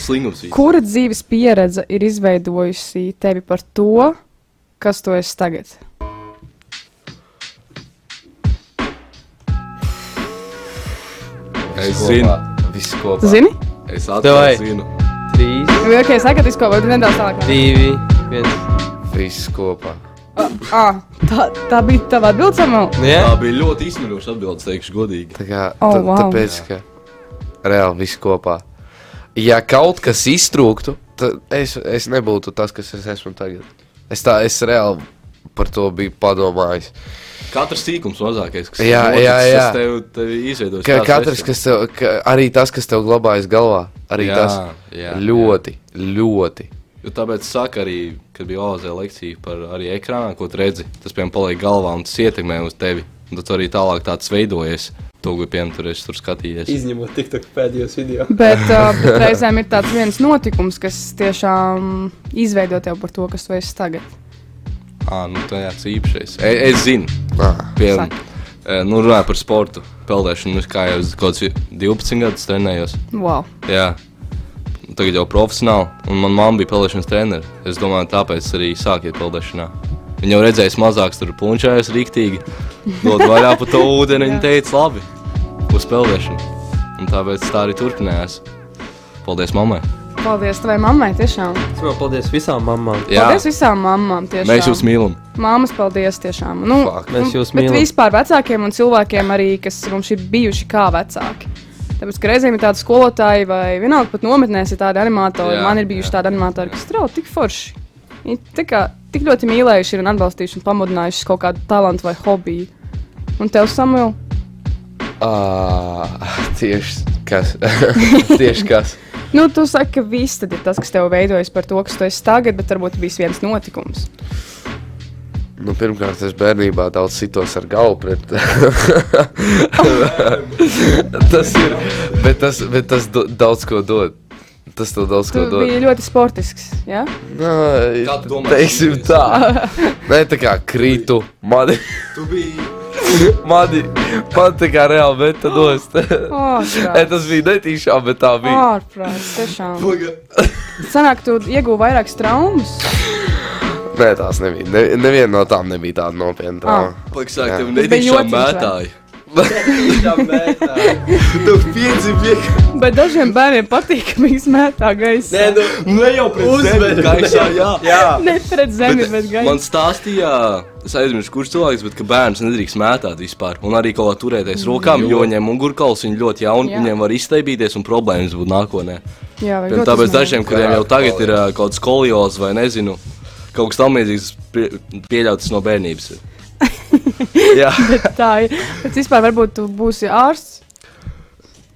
[SPEAKER 6] Slinkums.
[SPEAKER 2] kura dzīves pieredze ir izveidojusi tevi par to, kas tu esi tagad?
[SPEAKER 6] Es zinu.
[SPEAKER 4] Viss kopā.
[SPEAKER 2] Tu zini?
[SPEAKER 6] Es
[SPEAKER 5] Davai.
[SPEAKER 6] atceros, zinu.
[SPEAKER 5] 3,
[SPEAKER 2] Jā, ok, saka, tas ko vēl nedaudz tālāk.
[SPEAKER 5] 2, 1.
[SPEAKER 4] Viss kopā.
[SPEAKER 2] Ah, tā, tā bija tava atbilde, Samuel.
[SPEAKER 5] Nu, jā,
[SPEAKER 6] Tā bija ļoti izsmeļoša atbildes, teikšu godīgi.
[SPEAKER 4] Tā kā,
[SPEAKER 2] Oh,
[SPEAKER 4] oh,
[SPEAKER 2] wow.
[SPEAKER 4] wow. Tāpēc, ka reāli viss kopā. Ja kaut kas iztrūktu, tad es, es nebūtu tas, kas es esmu tagad. Es tā, es reāli par to biju padomājis.
[SPEAKER 6] Katrs sīkums mazākais, kas
[SPEAKER 4] Jā,
[SPEAKER 6] noticis,
[SPEAKER 4] jā, jā.
[SPEAKER 6] tas tev, tev izveidos.
[SPEAKER 4] Ka,
[SPEAKER 6] tāds
[SPEAKER 4] katrs,
[SPEAKER 6] esi.
[SPEAKER 4] kas tev, ka, arī tas, kas tev glabājas galvā, arī
[SPEAKER 6] Jā,
[SPEAKER 4] jā, tas
[SPEAKER 6] jā,
[SPEAKER 4] jā, ļoti, jā. ļoti.
[SPEAKER 6] Jo tāpēc saka arī, kad bija OZ lekcija par arī ekrānā, ko tu redzi, tas piemēram paliek galvā un tas ietekmē uz tevi. Un tad tu arī tālāk tāds veidojies, to, ko piemēram tur es tur skatījies.
[SPEAKER 5] izņemot TikTok pēdējos video.
[SPEAKER 2] Bet uh, bet reizēm ir tāds viens notikums, kas tiešām izveido tevi par to, kas tu esi tagad.
[SPEAKER 6] Ā, nu tā jāc īpašais. Es, es zinu,
[SPEAKER 4] Ā.
[SPEAKER 6] piemēram, e, nu runāju par sportu, peldēšanu, nu, kā jau es kaut kāds 12 gadus trenējos.
[SPEAKER 2] Wow.
[SPEAKER 6] Jā. Un Tagad jau profesionāli, un manā mamā bija peldēšanas treneris. Es domāju, tāpēc arī sākiet peldēšanā. Viņa jau redzēja, es mazāk tur plunčājos rīktīgi. Dod vaļā pa to ūdeni, viņa teica, labi, uz peldēšanu. Un tāpēc tā arī turpinājās. Paldies mammai.
[SPEAKER 2] Paldies tavai mammai, tiešām.
[SPEAKER 5] Es vēl paldies visām mamām.
[SPEAKER 6] Jā,
[SPEAKER 2] Paldies visām mamām. Tiešām.
[SPEAKER 6] mēs jūs mīlam.
[SPEAKER 2] Māmas, paldies tiešām. Nu,
[SPEAKER 4] Fuck.
[SPEAKER 5] Mēs jūs
[SPEAKER 2] bet
[SPEAKER 5] mīlam.
[SPEAKER 2] vispār vecākiem un cilvēkiem arī, kas mums ir bijuši kā vecāki. Tāpēc, ka reizēm ir tādi skolotāji vai vienalga pat nometnēs ir tādi animatori.
[SPEAKER 6] Jā,
[SPEAKER 2] Man ir bijuši tādi animatori, kas strauji tik forši. Viņi tā kā tik ļoti mīlējuši ir un atbalstījuši un pamudinājuši kaut kādu talantu vai hobiju. Un tev, Samuel,
[SPEAKER 4] Ā, Ah, Tieši kas. Tieši kas.
[SPEAKER 2] nu, tu saki, ka viss tad ir tas, kas tev veidojas par to, kas tu esi tagad, bet varbūt bijis viens notikums.
[SPEAKER 4] Nu, pirmkārt, es bērnībā daudz sitos ar galvu pret. tas ir. Bet tas, bet tas do, daudz ko dod. Tas tev daudz
[SPEAKER 2] Tu
[SPEAKER 4] ko dod.
[SPEAKER 2] biji ļoti sportisks. Ja?
[SPEAKER 4] Nē,
[SPEAKER 6] Kā tu domā,
[SPEAKER 4] teiksim
[SPEAKER 6] šis-
[SPEAKER 4] tā. Nē, tā kā krītu. Mani,
[SPEAKER 6] Tu biji
[SPEAKER 4] mani, man tā kā reāli meta nost. Nē,
[SPEAKER 2] Ārprāts,
[SPEAKER 4] tas bija netīšām, bet tā
[SPEAKER 2] Ah.
[SPEAKER 4] bija.
[SPEAKER 2] Ārprāts, tiešām. Sanāk, tu iegūji vairākas traumas.
[SPEAKER 4] Nē, tās nebija. Ne, neviena no tām nebija tāda nopietna.
[SPEAKER 2] Ah.
[SPEAKER 4] trauma.
[SPEAKER 6] Paksāk, tev
[SPEAKER 2] Tas bija
[SPEAKER 6] netīšām
[SPEAKER 2] jociņš, vai?
[SPEAKER 6] mētāji.
[SPEAKER 4] Tev piedzi vienkārši.
[SPEAKER 2] Bet dažiem bērniem patīk, ka viņi smētā gaisā.
[SPEAKER 6] Nē, nu, ne jau pret
[SPEAKER 7] Uzvedi,
[SPEAKER 6] zemi gaisā, jā.
[SPEAKER 2] Ne pret zemi, bet gaisā.
[SPEAKER 6] Man stāstīja, es aizmirsu, kurš cilvēks, bet ka bērns nedrīkst mētāt vispār. Un arī kaut kā turēties rokām, jo viņiem mugurkauls ir ļoti jauni,
[SPEAKER 2] Jā.
[SPEAKER 6] viņiem var izteibīties un problēmas būt nākotnē.
[SPEAKER 2] Jā, vai
[SPEAKER 6] Pien,
[SPEAKER 2] ļoti
[SPEAKER 6] tāpēc
[SPEAKER 2] uzmanīgi.
[SPEAKER 6] dažiem, kuriem
[SPEAKER 4] Jā,
[SPEAKER 6] jau tagad ir ā, kaut kāds koliols vai nezinu, kaut kas tamlīdzīgs pie, pieļauts no bērnības. ir. Jā,
[SPEAKER 2] Tā ir. Bet vispār varbūt tu būsi ārsts.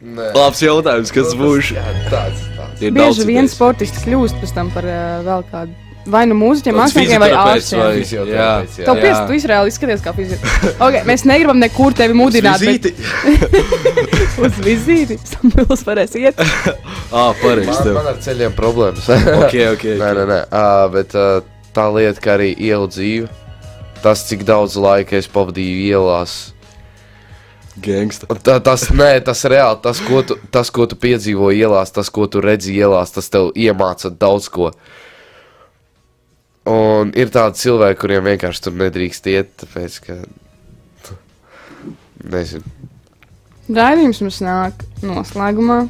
[SPEAKER 4] Nē,
[SPEAKER 6] labs jautājums, kas būs.
[SPEAKER 4] Jā, Nu, tāds, tāds.
[SPEAKER 6] Ir daudz
[SPEAKER 2] Bieži vien
[SPEAKER 6] idejas.
[SPEAKER 2] sportists kļūst pēc tam par ā, vēl kādu vai nu mūziķiem,
[SPEAKER 6] Kāds
[SPEAKER 2] māksliniekiem vai
[SPEAKER 6] fizioterapeits
[SPEAKER 2] ārstiem.
[SPEAKER 6] vai-
[SPEAKER 4] Fizioterapeits, jā.
[SPEAKER 2] Tev pierādījis, tu izrēli izskaties kā fizioterapeits. Okay, mēs negribam nekur tevi mudināt. bet Uz vizīti. Samuels varēs iet.
[SPEAKER 6] Ā, pareizi.
[SPEAKER 4] Man,
[SPEAKER 6] tev.
[SPEAKER 4] man ar ceļiem problēmas.
[SPEAKER 6] Ok, ok.
[SPEAKER 4] Nē, nē, nē. Uh, bet uh, tā lieta, ka arī ielu dzīve, tas cik daudz laika es pavadīju ielās.
[SPEAKER 7] Gangsta.
[SPEAKER 4] Un Tā, tas, nē, tas reāli, tas ko, tu, tas, ko tu piedzīvo ielās, tas, ko tu redzi ielās, tas tev iemāca daudz ko. Un ir tādi cilvēki, kuriem vienkārši tur nedrīkst iet, tāpēc ka. Nezinu.
[SPEAKER 2] Raidījums mums nāk noslēgumā.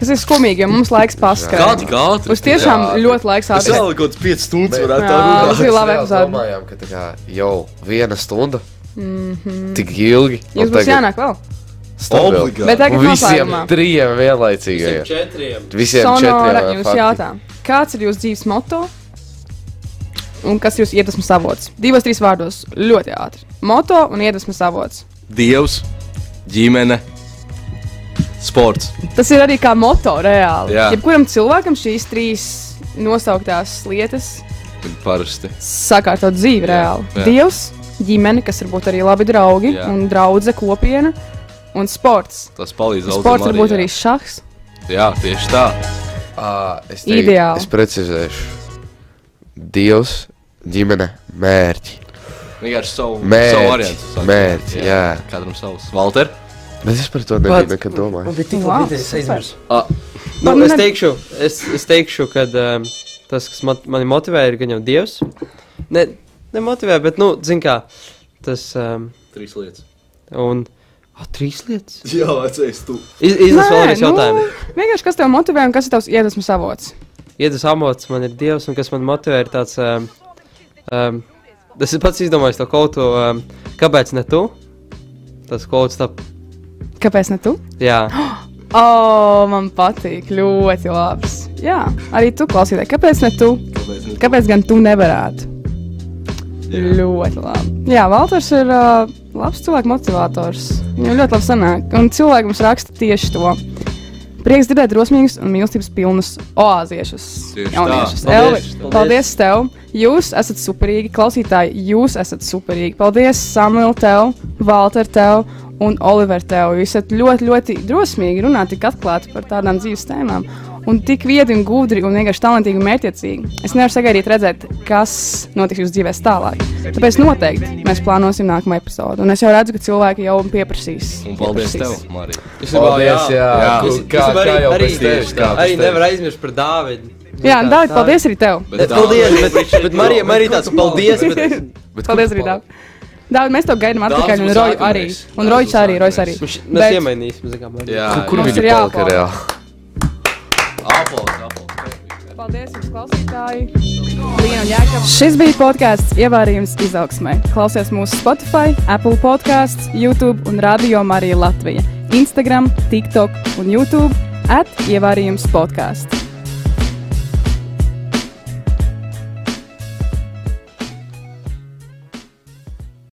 [SPEAKER 2] Kas ir skumīgi, jo mums laiks
[SPEAKER 6] Kādi
[SPEAKER 2] paskaidrot.
[SPEAKER 6] gāti?
[SPEAKER 2] Uz tiešām
[SPEAKER 4] Jā.
[SPEAKER 2] ļoti laiks
[SPEAKER 6] Es
[SPEAKER 2] ātrāk.
[SPEAKER 6] vēl kaut kāds 5 stundas
[SPEAKER 4] Bet-
[SPEAKER 6] varētu
[SPEAKER 2] Jā.
[SPEAKER 6] tā runāt.
[SPEAKER 2] Tas bija laba
[SPEAKER 4] Mēs
[SPEAKER 2] epizode.
[SPEAKER 4] Domājām, ka tā kā jau viena stunda. Mm -hmm. Tik ilgi. un
[SPEAKER 6] Nu,
[SPEAKER 2] Jums Mhm. būs
[SPEAKER 4] tagad
[SPEAKER 2] jānāk vēl.
[SPEAKER 4] stabili.
[SPEAKER 7] Obligāti.
[SPEAKER 2] Bet tagad
[SPEAKER 4] Visiem
[SPEAKER 2] noslēgumā.
[SPEAKER 4] trijiem vienlaicīgi.
[SPEAKER 5] Četriem.
[SPEAKER 4] Visiem
[SPEAKER 2] Sonora
[SPEAKER 4] četriem.
[SPEAKER 2] jums
[SPEAKER 4] faktiski.
[SPEAKER 2] jautā, kāds ir jūsu dzīves moto un kas jūs iedvesmas avots? Divos, trīs vārdos ļoti ātri. Moto un iedvesmas avots.
[SPEAKER 6] Dievs, ģimene, sports.
[SPEAKER 2] Tas ir arī kā moto reāli.
[SPEAKER 6] Jā.
[SPEAKER 2] Jebkuram cilvēkam šīs trīs nosauktās lietas
[SPEAKER 6] ir Parasti.
[SPEAKER 2] sakārtot dzīvi reāli.
[SPEAKER 6] jā.
[SPEAKER 2] Dievs, ģimene, kas varbūt arī labi draugi
[SPEAKER 6] Jā.
[SPEAKER 2] un draudzene kopiena un sports.
[SPEAKER 6] Tas palīdz daudz.
[SPEAKER 2] Sports var būt arī šachs.
[SPEAKER 6] Jā, tieši tā.
[SPEAKER 4] Ā, es
[SPEAKER 2] Ideāli.
[SPEAKER 4] Es precizēšu. Dievs, ģimene, mērķi.
[SPEAKER 6] Vienkārši savu,
[SPEAKER 4] Mērķi,
[SPEAKER 6] savu variantu. sākt.
[SPEAKER 4] mērķi, jā.
[SPEAKER 6] Katram savs. Valter,
[SPEAKER 4] Bet es par to nebiju nekad domājis.
[SPEAKER 5] Bet tik
[SPEAKER 2] Vau,
[SPEAKER 5] labi, es
[SPEAKER 2] super.
[SPEAKER 5] aizmirsu.
[SPEAKER 6] Ah.
[SPEAKER 5] Nu,
[SPEAKER 2] Man
[SPEAKER 5] es
[SPEAKER 2] ne-
[SPEAKER 5] teikšu, es, es teikšu ka um, tas, kas mat, mani motivē, ir gan jau Dievs. Ne, nemotivē, bet, nu, zin kā, tas, um,
[SPEAKER 6] trīs lietas.
[SPEAKER 5] un, o, trīs lietas.
[SPEAKER 7] Jā, vecais tu.
[SPEAKER 5] Iz, izlas
[SPEAKER 2] Nē,
[SPEAKER 5] vēlreiz
[SPEAKER 2] nu,
[SPEAKER 5] jautājumu.
[SPEAKER 2] Vienkārši kas tev motivē un kas ir tavs iedvesmas avots?
[SPEAKER 5] Iedus amots man ir Dievs, un kas man motivē, ir tāds, um, um, tas ir pats izdomājis to kaut ko, um, kāpēc ne tu? Tas kaut kas tāds,
[SPEAKER 2] Kāpēc ne tu?
[SPEAKER 5] jā.
[SPEAKER 2] O, man patīk, ļoti labs. Jā, arī tu klausītāji, kāpēc ne tu?
[SPEAKER 7] Kāpēc ne tu?
[SPEAKER 2] Kāpēc gan tu nevarētu? Ļoti labi. Jā, Valters ir uh, labs cilvēks, motivators. Viņam ļoti labi sanāk. Un cilvēki mums raksta tieši to. Prieks dzirdēt drosmīgus un mīlestības pilnus oāziešus.
[SPEAKER 6] Tieši
[SPEAKER 2] Jauniešus.
[SPEAKER 5] tā.
[SPEAKER 2] Elvi,
[SPEAKER 5] Paldies, paldies.
[SPEAKER 2] paldies tev! Jūs esat superīgi, klausītāji, jūs esat superīgi. Paldies Samuel tev, Valter tev un Oliver tev. Jūs esat ļoti, ļoti drosmīgi runāt tik atklāti par tādām dzīves tēmām. Un tik viedi un gudri un vienkārši talantīgi un mērķiecīgi. Es nevaru sagaidīt, redzēt, kas notiks jūsu dzīvēs tālāk. Tāpēc noteikti mēs plānosim nākamo epizodu. Un es jau redzu, ka cilvēki jau pieprasīs.
[SPEAKER 6] Un paldies tev,
[SPEAKER 2] Pieprasīs.
[SPEAKER 6] Marija.
[SPEAKER 4] Paldies, jā. jā.
[SPEAKER 5] Es-
[SPEAKER 4] Kā,
[SPEAKER 5] es
[SPEAKER 4] kā,
[SPEAKER 5] varu
[SPEAKER 4] kā jau
[SPEAKER 5] arī-
[SPEAKER 4] bez tevis? Kā
[SPEAKER 5] Arī
[SPEAKER 4] bez
[SPEAKER 5] nevar
[SPEAKER 4] tevis?
[SPEAKER 5] aizmirst par Dāvidu.
[SPEAKER 2] Jā, Dārgi, paldies arī tev!
[SPEAKER 5] Bet paldies, bet, bet Marija, Marija tāds paldies, bet
[SPEAKER 4] Bet kur
[SPEAKER 2] Paldies,
[SPEAKER 4] tu
[SPEAKER 2] Rīdā. Daudz, mēs to gaidām
[SPEAKER 6] Daudz
[SPEAKER 2] atpakaļ, un
[SPEAKER 6] būs
[SPEAKER 2] Roju
[SPEAKER 6] nākamreiz.
[SPEAKER 2] arī. Un
[SPEAKER 6] Daudz
[SPEAKER 2] Rojs
[SPEAKER 6] būs
[SPEAKER 2] arī, Rojs arī.
[SPEAKER 6] nākamreiz.
[SPEAKER 5] Mēs,
[SPEAKER 2] Bet-
[SPEAKER 5] mēs nu, iemainīsim, zinām,
[SPEAKER 6] Jā,
[SPEAKER 4] Kur
[SPEAKER 2] Mums
[SPEAKER 4] viņi
[SPEAKER 2] ir jāpalaiž.
[SPEAKER 4] palika reāli?
[SPEAKER 6] aplaus, aplaus.
[SPEAKER 2] Paldies jums, klausītāji! Līna un Jākabs. Šis bija podkāsts Ievārījums izaugsmē. Klausies mūsu Spotify, Apple podkāsts, YouTube un Radio Marija Latvija. Instagram, TikTok un YouTube at Ievārījums podkāsts.